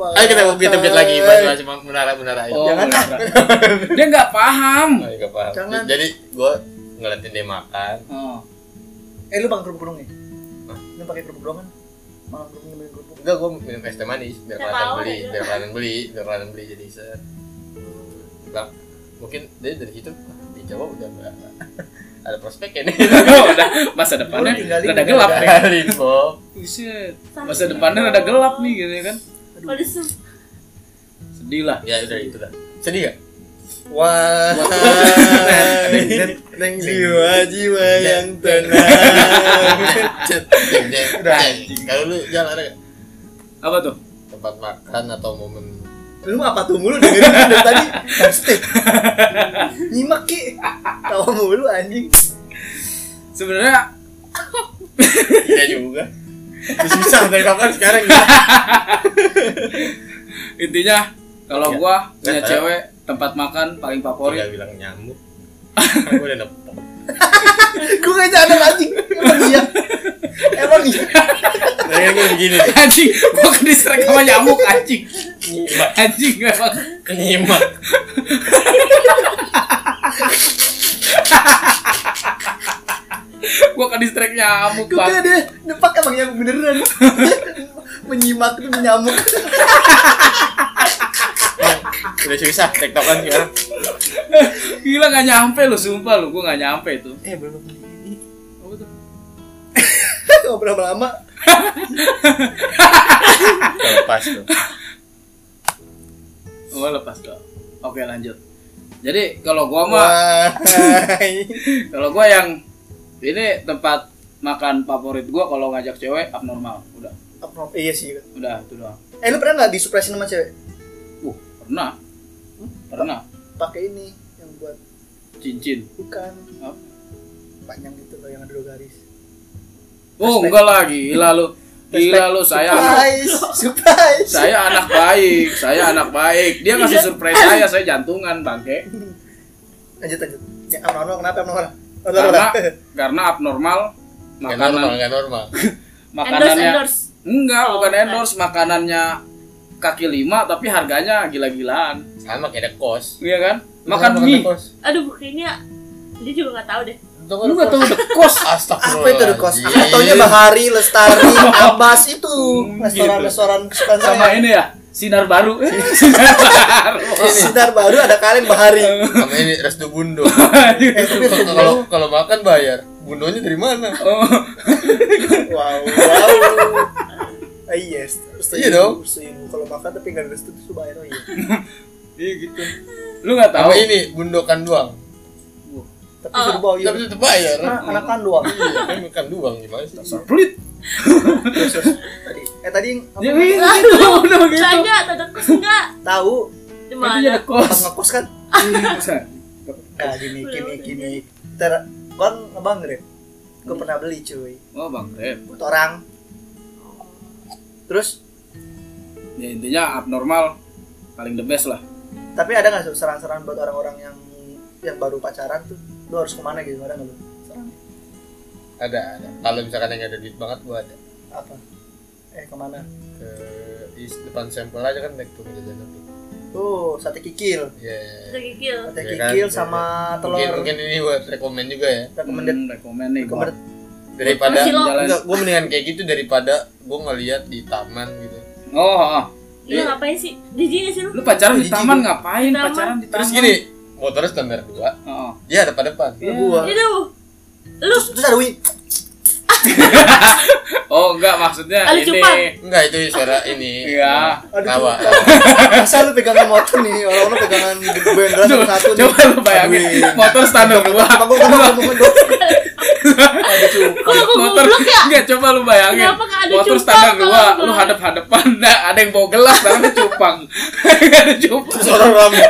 [SPEAKER 1] wah.
[SPEAKER 2] Ayo kita kita bikin lagi bahas bahas menara-menara ini.
[SPEAKER 3] Oh,
[SPEAKER 1] Jangan,
[SPEAKER 3] nggak paham. dia nggak paham
[SPEAKER 2] Oh, nggak paham.
[SPEAKER 1] Jangan.
[SPEAKER 2] Jadi gue ngeliatin dia makan.
[SPEAKER 3] oh.
[SPEAKER 1] Eh lu bang kerupuk dong ya?
[SPEAKER 2] Hah?
[SPEAKER 1] Lu pakai kerupuk dong kan? Malam kerupuk nemenin kerupuk
[SPEAKER 2] Enggak, gue minum es teh manis biar
[SPEAKER 4] Nggak
[SPEAKER 2] kelihatan
[SPEAKER 4] tahu,
[SPEAKER 2] beli,
[SPEAKER 4] nggak
[SPEAKER 2] biar kelihatan beli, biar kelihatan beli jadi set. Bang, mungkin dia dari situ "Ah, di Jawa udah nggak ada *laughs* prospeknya nih.
[SPEAKER 3] *laughs* udah masa depannya
[SPEAKER 1] Lu tinggalin
[SPEAKER 3] rada gelap nih
[SPEAKER 2] Ada info.
[SPEAKER 3] Buset. masa depannya rada gelap nih gitu ya kan
[SPEAKER 4] Waduh, su-
[SPEAKER 3] sedih lah
[SPEAKER 2] Ya udah itu dah. Sedih nggak?
[SPEAKER 1] Wah Neng jiwa-jiwa yang tenang
[SPEAKER 2] Iya. *laughs* Cet, jeng, jeng, jeng. Kalau lu jalan ada nggak?
[SPEAKER 3] apa tuh
[SPEAKER 2] tempat makan atau momen
[SPEAKER 1] Lu apa tuh mulu dengerin lu dari tadi Steve Nyimak ki Tawa mulu anjing
[SPEAKER 3] sebenarnya
[SPEAKER 2] Iya juga susah dari kapan sekarang ya
[SPEAKER 3] intinya kalau
[SPEAKER 2] Iya.
[SPEAKER 3] gua punya
[SPEAKER 2] Iya.
[SPEAKER 3] cewek tempat makan paling favorit
[SPEAKER 2] udah bilang nyamuk aku udah nepok
[SPEAKER 1] Gue gak ada anjing Emang iya Emang iya
[SPEAKER 2] Nah, kan begini nih,
[SPEAKER 3] *laughs* anjing gua ke distract sama nyamuk anjing
[SPEAKER 2] nyimak
[SPEAKER 3] anjing memang
[SPEAKER 2] nyimak
[SPEAKER 3] gua ke distract nyamuk
[SPEAKER 1] Gue
[SPEAKER 3] bang
[SPEAKER 1] kayak deh Nepak emang nyamuk beneran Menyimak tuh nyamuk
[SPEAKER 2] udah susah tektokan sekarang
[SPEAKER 3] gila gak nyampe lu sumpah lu gua gak nyampe itu
[SPEAKER 1] Eh belum
[SPEAKER 3] Apa tuh?
[SPEAKER 1] Ngobrol lama
[SPEAKER 2] Udah lepas tuh
[SPEAKER 3] oh lepas dong oke lanjut jadi kalau gua mah
[SPEAKER 1] Wah
[SPEAKER 3] Kalau gua yang ini tempat makan favorit gua kalau ngajak cewek abnormal. Udah,
[SPEAKER 1] Abnorm- Iya sih
[SPEAKER 3] udah itu doang.
[SPEAKER 1] Eh lu pernah gak disupresin sama cewek?
[SPEAKER 3] Uh, pernah. Pernah
[SPEAKER 1] Pakai ini Yang buat
[SPEAKER 3] cincin.
[SPEAKER 1] bukan
[SPEAKER 3] Apa?
[SPEAKER 1] Panjang gitu loh yang ada dua garis
[SPEAKER 3] Oh, enggak lah gila lu. Gila lu saya
[SPEAKER 1] Surprise Surprise
[SPEAKER 3] saya anak baik, saya anak baik. Dia ngasih surprise saya, saya jantungan bangke.
[SPEAKER 1] Lanjut lanjut Yang abnormal kenapa abnormal?
[SPEAKER 3] Karena
[SPEAKER 1] Abnormal.
[SPEAKER 3] karena abnormal
[SPEAKER 2] nggak normal
[SPEAKER 3] makanan
[SPEAKER 2] nggak normal
[SPEAKER 4] endorse
[SPEAKER 2] ya.
[SPEAKER 3] makanannya
[SPEAKER 4] endorse.
[SPEAKER 3] enggak
[SPEAKER 4] Oh,
[SPEAKER 3] bukan
[SPEAKER 4] bukan.
[SPEAKER 3] endorse makanannya kaki lima tapi harganya gila-gilaan
[SPEAKER 2] sama kayak ada kos
[SPEAKER 3] iya kan makan
[SPEAKER 2] Sama
[SPEAKER 3] mie
[SPEAKER 2] ada kos
[SPEAKER 4] Aduh, kayaknya dia juga nggak tahu deh.
[SPEAKER 3] lu nggak tahu dekos
[SPEAKER 1] Apa itu the
[SPEAKER 3] iya.
[SPEAKER 1] cost? Aku
[SPEAKER 2] Astagfirullahaladzim.
[SPEAKER 1] taunya Bahari,
[SPEAKER 3] *laughs*
[SPEAKER 1] Lestari, Abbas itu
[SPEAKER 3] Hmm, gitu.
[SPEAKER 1] Restoran-restoran kesukaan
[SPEAKER 3] sama
[SPEAKER 1] saya
[SPEAKER 3] ini ya sinar baru sinar baru
[SPEAKER 1] Sinar baru ada kalian
[SPEAKER 3] *laughs*
[SPEAKER 1] Bahari
[SPEAKER 2] sama ini restu bundo
[SPEAKER 1] Eh, tapi itu
[SPEAKER 2] kalau kalau makan bayar bundonya dari mana
[SPEAKER 3] Oh,
[SPEAKER 1] Wow, wow Ah, Yes, setuju,
[SPEAKER 2] Iya dong.
[SPEAKER 1] setuju. Kalau makan tapi nggak ada restu itu bayar oh iya.
[SPEAKER 3] iya gitu lu nggak tahu
[SPEAKER 2] sama ini bundokan doang
[SPEAKER 1] Tapi sudah bayar.
[SPEAKER 2] tapi tetap bayar
[SPEAKER 1] Nah, anak kan doang.
[SPEAKER 2] iya kan makan doang gimana sih
[SPEAKER 3] pelit
[SPEAKER 1] Terus, terus. Tadi, eh tadi yang apa?
[SPEAKER 3] ya iya, gitu udah gitu
[SPEAKER 4] Tanya, tanda kus enggak?
[SPEAKER 1] tahu
[SPEAKER 4] Di
[SPEAKER 3] itu
[SPEAKER 4] mana?
[SPEAKER 3] ya
[SPEAKER 1] pas
[SPEAKER 3] kos
[SPEAKER 1] ngekos kan? Nah, gini, gini, gini. Ter, kan abang grab. Gue pernah beli cuy.
[SPEAKER 3] *laughs* oh bang Rep
[SPEAKER 1] Buat orang. Terus,
[SPEAKER 3] ya intinya abnormal paling the best lah
[SPEAKER 1] tapi ada nggak saran-saran buat orang-orang yang yang baru pacaran tuh? Lu harus kemana gitu? Ada nggak lu? Saran
[SPEAKER 2] ada ada kalau misalkan yang nggak ada duit banget gua ada
[SPEAKER 1] apa? Eh kemana?
[SPEAKER 2] ke di Eh, depan sampel aja kan naik turun jajan tuh
[SPEAKER 1] Tuh, Oh, sate kikil.
[SPEAKER 2] ya
[SPEAKER 4] Tergigil.
[SPEAKER 1] Sate
[SPEAKER 2] Ya kan?
[SPEAKER 1] kikil sama
[SPEAKER 2] mungkin
[SPEAKER 1] telur.
[SPEAKER 2] mungkin ini buat rekomend juga ya
[SPEAKER 1] Recommended.
[SPEAKER 3] Hmm, recommend nih gua
[SPEAKER 1] Recommended.
[SPEAKER 2] daripada
[SPEAKER 4] Kilo.
[SPEAKER 3] Jalan.
[SPEAKER 2] enggak gua mendingan kayak gitu daripada gua ngeliat di taman gitu
[SPEAKER 3] oh, oh.
[SPEAKER 4] Iya, ngapain sih? Jijik nggak sih lu?
[SPEAKER 3] lu pacaran di
[SPEAKER 1] Jijik
[SPEAKER 3] taman
[SPEAKER 1] gua.
[SPEAKER 3] ngapain
[SPEAKER 4] Di taman.
[SPEAKER 3] pacaran di taman
[SPEAKER 2] terus gini motornya standar dua
[SPEAKER 3] oh, oh.
[SPEAKER 2] dia ada pada depan
[SPEAKER 1] Lu Gua.
[SPEAKER 2] *laughs*
[SPEAKER 4] Aduh. Lu
[SPEAKER 1] Terus ada wing.
[SPEAKER 3] oh enggak maksudnya
[SPEAKER 4] Ada cupan.
[SPEAKER 3] ini
[SPEAKER 2] enggak itu suara ini
[SPEAKER 3] Iya.
[SPEAKER 1] Aduh,
[SPEAKER 2] Tawa.
[SPEAKER 1] coba. Masa lu pegangan motor nih? Orang-orang pegangan bendera satu-satu nih.
[SPEAKER 3] coba lu bayangin
[SPEAKER 1] Aduh.
[SPEAKER 3] motor standar gua
[SPEAKER 2] *laughs*
[SPEAKER 1] Apa gua ngomong ngomong dong?
[SPEAKER 3] ada cukup
[SPEAKER 4] Kalau gua
[SPEAKER 3] motor
[SPEAKER 4] goblok ya?
[SPEAKER 3] nggak coba lu bayangin
[SPEAKER 4] Kenapa nggak ada
[SPEAKER 3] motor
[SPEAKER 4] cupang
[SPEAKER 3] standar
[SPEAKER 4] kalau
[SPEAKER 3] dua
[SPEAKER 4] gua?
[SPEAKER 3] lu hadap hadapan *laughs* nah, ada yang bawa gelas tangannya cupang *laughs* Nggak ada cupang
[SPEAKER 5] Seorang rame.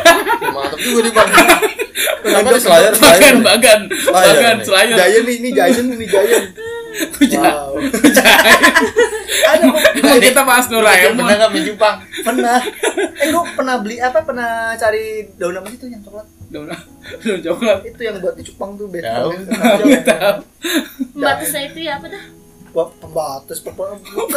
[SPEAKER 2] Mantap juga nih bang. Kenapa nih selayar selayar?
[SPEAKER 3] bagan bagan
[SPEAKER 2] Selayar,
[SPEAKER 3] bagan
[SPEAKER 2] nih.
[SPEAKER 3] selain *laughs*
[SPEAKER 1] Giant nih, ini Giant nih, ini Giant. Wow. Ada
[SPEAKER 3] Emang kita bahas
[SPEAKER 2] Pernah
[SPEAKER 3] Doraemon
[SPEAKER 2] nggak main Jepang?
[SPEAKER 1] pernah. Eh gua pernah beli apa? Pernah cari daun apa sih tuh yang coklat?
[SPEAKER 3] daun daun coklat
[SPEAKER 1] Itu yang buat di Cupang tuh bed.
[SPEAKER 2] Daun.
[SPEAKER 4] Batasnya itu ya apa dah?
[SPEAKER 1] Wah, pembatas pembatas. Bukan.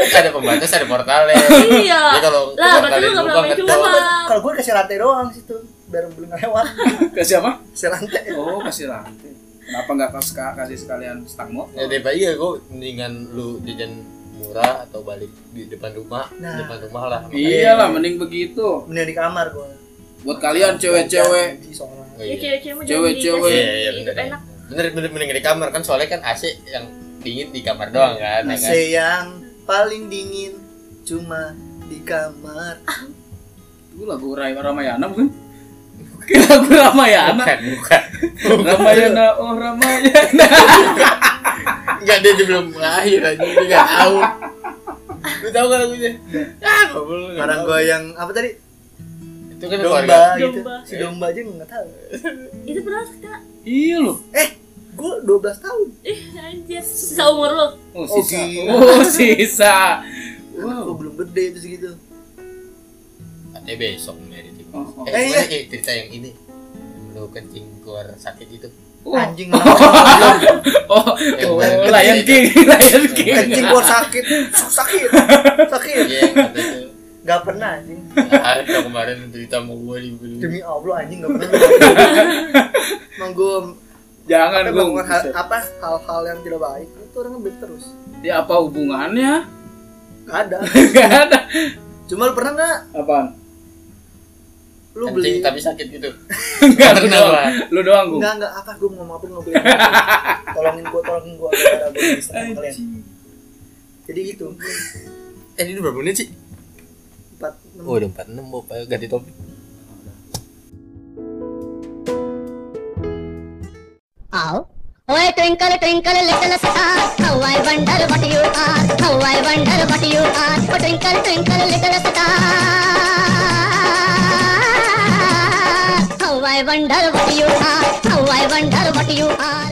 [SPEAKER 2] Ada pembatas, ada portalnya.
[SPEAKER 4] Iya.
[SPEAKER 2] Ya kalau
[SPEAKER 4] Lah, berarti lu nggak pernah main
[SPEAKER 2] ketol.
[SPEAKER 4] cupang.
[SPEAKER 1] Kalau gue kasih rantai doang situ, biar belum lewat.
[SPEAKER 3] ke siapa
[SPEAKER 1] Kasih rantai.
[SPEAKER 3] oh kasih rantai kenapa nggak kasih kasih sekalian stang motor
[SPEAKER 2] Ya daripada iya gue mendingan lu jajan murah atau balik di depan rumah,
[SPEAKER 1] Nah.
[SPEAKER 2] depan rumah lah.
[SPEAKER 3] iyalah Iya mending begitu
[SPEAKER 1] Mending di kamar gue.
[SPEAKER 3] buat kalian cewek-cewek
[SPEAKER 2] Makanya.
[SPEAKER 1] Soalnya.
[SPEAKER 2] Oh,
[SPEAKER 4] Ya
[SPEAKER 2] iya.
[SPEAKER 4] cewek-cewek mau
[SPEAKER 3] Cewek-cewek.
[SPEAKER 4] dikasih
[SPEAKER 2] Iya, iya,
[SPEAKER 4] gitu. hidup
[SPEAKER 2] bener, iya.
[SPEAKER 4] enak.
[SPEAKER 2] Bener bener mending di kamar kan soalnya kan AC yang dingin di kamar doang kan. ya
[SPEAKER 1] AC
[SPEAKER 2] kan?
[SPEAKER 1] yang paling dingin cuma di kamar.
[SPEAKER 3] itu lagu Ray Ramayana bukan lagu Ramayana
[SPEAKER 2] Bukan, bukan.
[SPEAKER 3] Ramayana oh Ramayana
[SPEAKER 2] Enggak dia dia belum lahir aja dia enggak tahu. Lu tahu kan lagunya? Ah, goblok, nggak
[SPEAKER 1] Orang
[SPEAKER 2] tahu.
[SPEAKER 1] gue yang apa tadi?
[SPEAKER 2] Itu kan keluarga.
[SPEAKER 1] Domba, gitu.
[SPEAKER 4] Domba.
[SPEAKER 1] Si domba aja nggak tahu.
[SPEAKER 4] Itu pernah kita
[SPEAKER 3] iya loh
[SPEAKER 1] Eh, gue 12 tahun.
[SPEAKER 4] ih anjir seumur lo.
[SPEAKER 3] oh
[SPEAKER 1] Oh,
[SPEAKER 3] sisa
[SPEAKER 1] gila.
[SPEAKER 3] *laughs* oh sisa
[SPEAKER 1] Gue
[SPEAKER 3] wow
[SPEAKER 1] belum gede gitu. itu segitu.
[SPEAKER 2] Katanya besok merit itu.
[SPEAKER 3] Oh, oh.
[SPEAKER 2] Eh,
[SPEAKER 1] Eh,
[SPEAKER 2] gimana, eh, cerita yang ini. Lu kencing keluar sakit itu.
[SPEAKER 3] Oh.
[SPEAKER 2] *laughs*
[SPEAKER 1] Anjing kenapa?
[SPEAKER 3] oh,
[SPEAKER 2] Eh,
[SPEAKER 3] oh,
[SPEAKER 2] bukan.
[SPEAKER 3] Lion King, *laughs* Lion King.
[SPEAKER 1] anjing gue sakit, sakit, sakit.
[SPEAKER 2] Iya, yang kata itu.
[SPEAKER 1] Gak pernah anjing.
[SPEAKER 2] Ada kemarin cerita sama gua di
[SPEAKER 1] Demi Allah anjing gak pernah. Emang gue
[SPEAKER 2] Kan
[SPEAKER 3] Jangan Gung.
[SPEAKER 1] melakukan hal, apa hal-hal yang tidak baik itu orangnya baik terus.
[SPEAKER 3] Ya apa hubungannya?
[SPEAKER 1] Gak ada.
[SPEAKER 3] Gak ada.
[SPEAKER 1] Cuma lu pernah nggak
[SPEAKER 3] *laughs* Apaan?
[SPEAKER 1] lu
[SPEAKER 2] Kencing
[SPEAKER 1] beli
[SPEAKER 2] tapi sakit gitu.
[SPEAKER 3] Enggak lu
[SPEAKER 2] Kenapa?
[SPEAKER 3] doang. Lu doang Gung.
[SPEAKER 1] Enggak, enggak, apa gue mau ngomong apa gue boleh ngomong. Tolongin gue, tolongin gue Gara-gara gue di Instagram kalian Jadi gitu
[SPEAKER 2] Eh, ini berapa menit sih?
[SPEAKER 1] Empat, enam.
[SPEAKER 2] Oh, udah 46 mau ganti topik.
[SPEAKER 6] Ow. Oy, twinkle, twinkle, little star, how I wonder what you are, how I wonder what you are, oh, twinkle, twinkle, little star. How I wonder what you are, how I wonder what you are.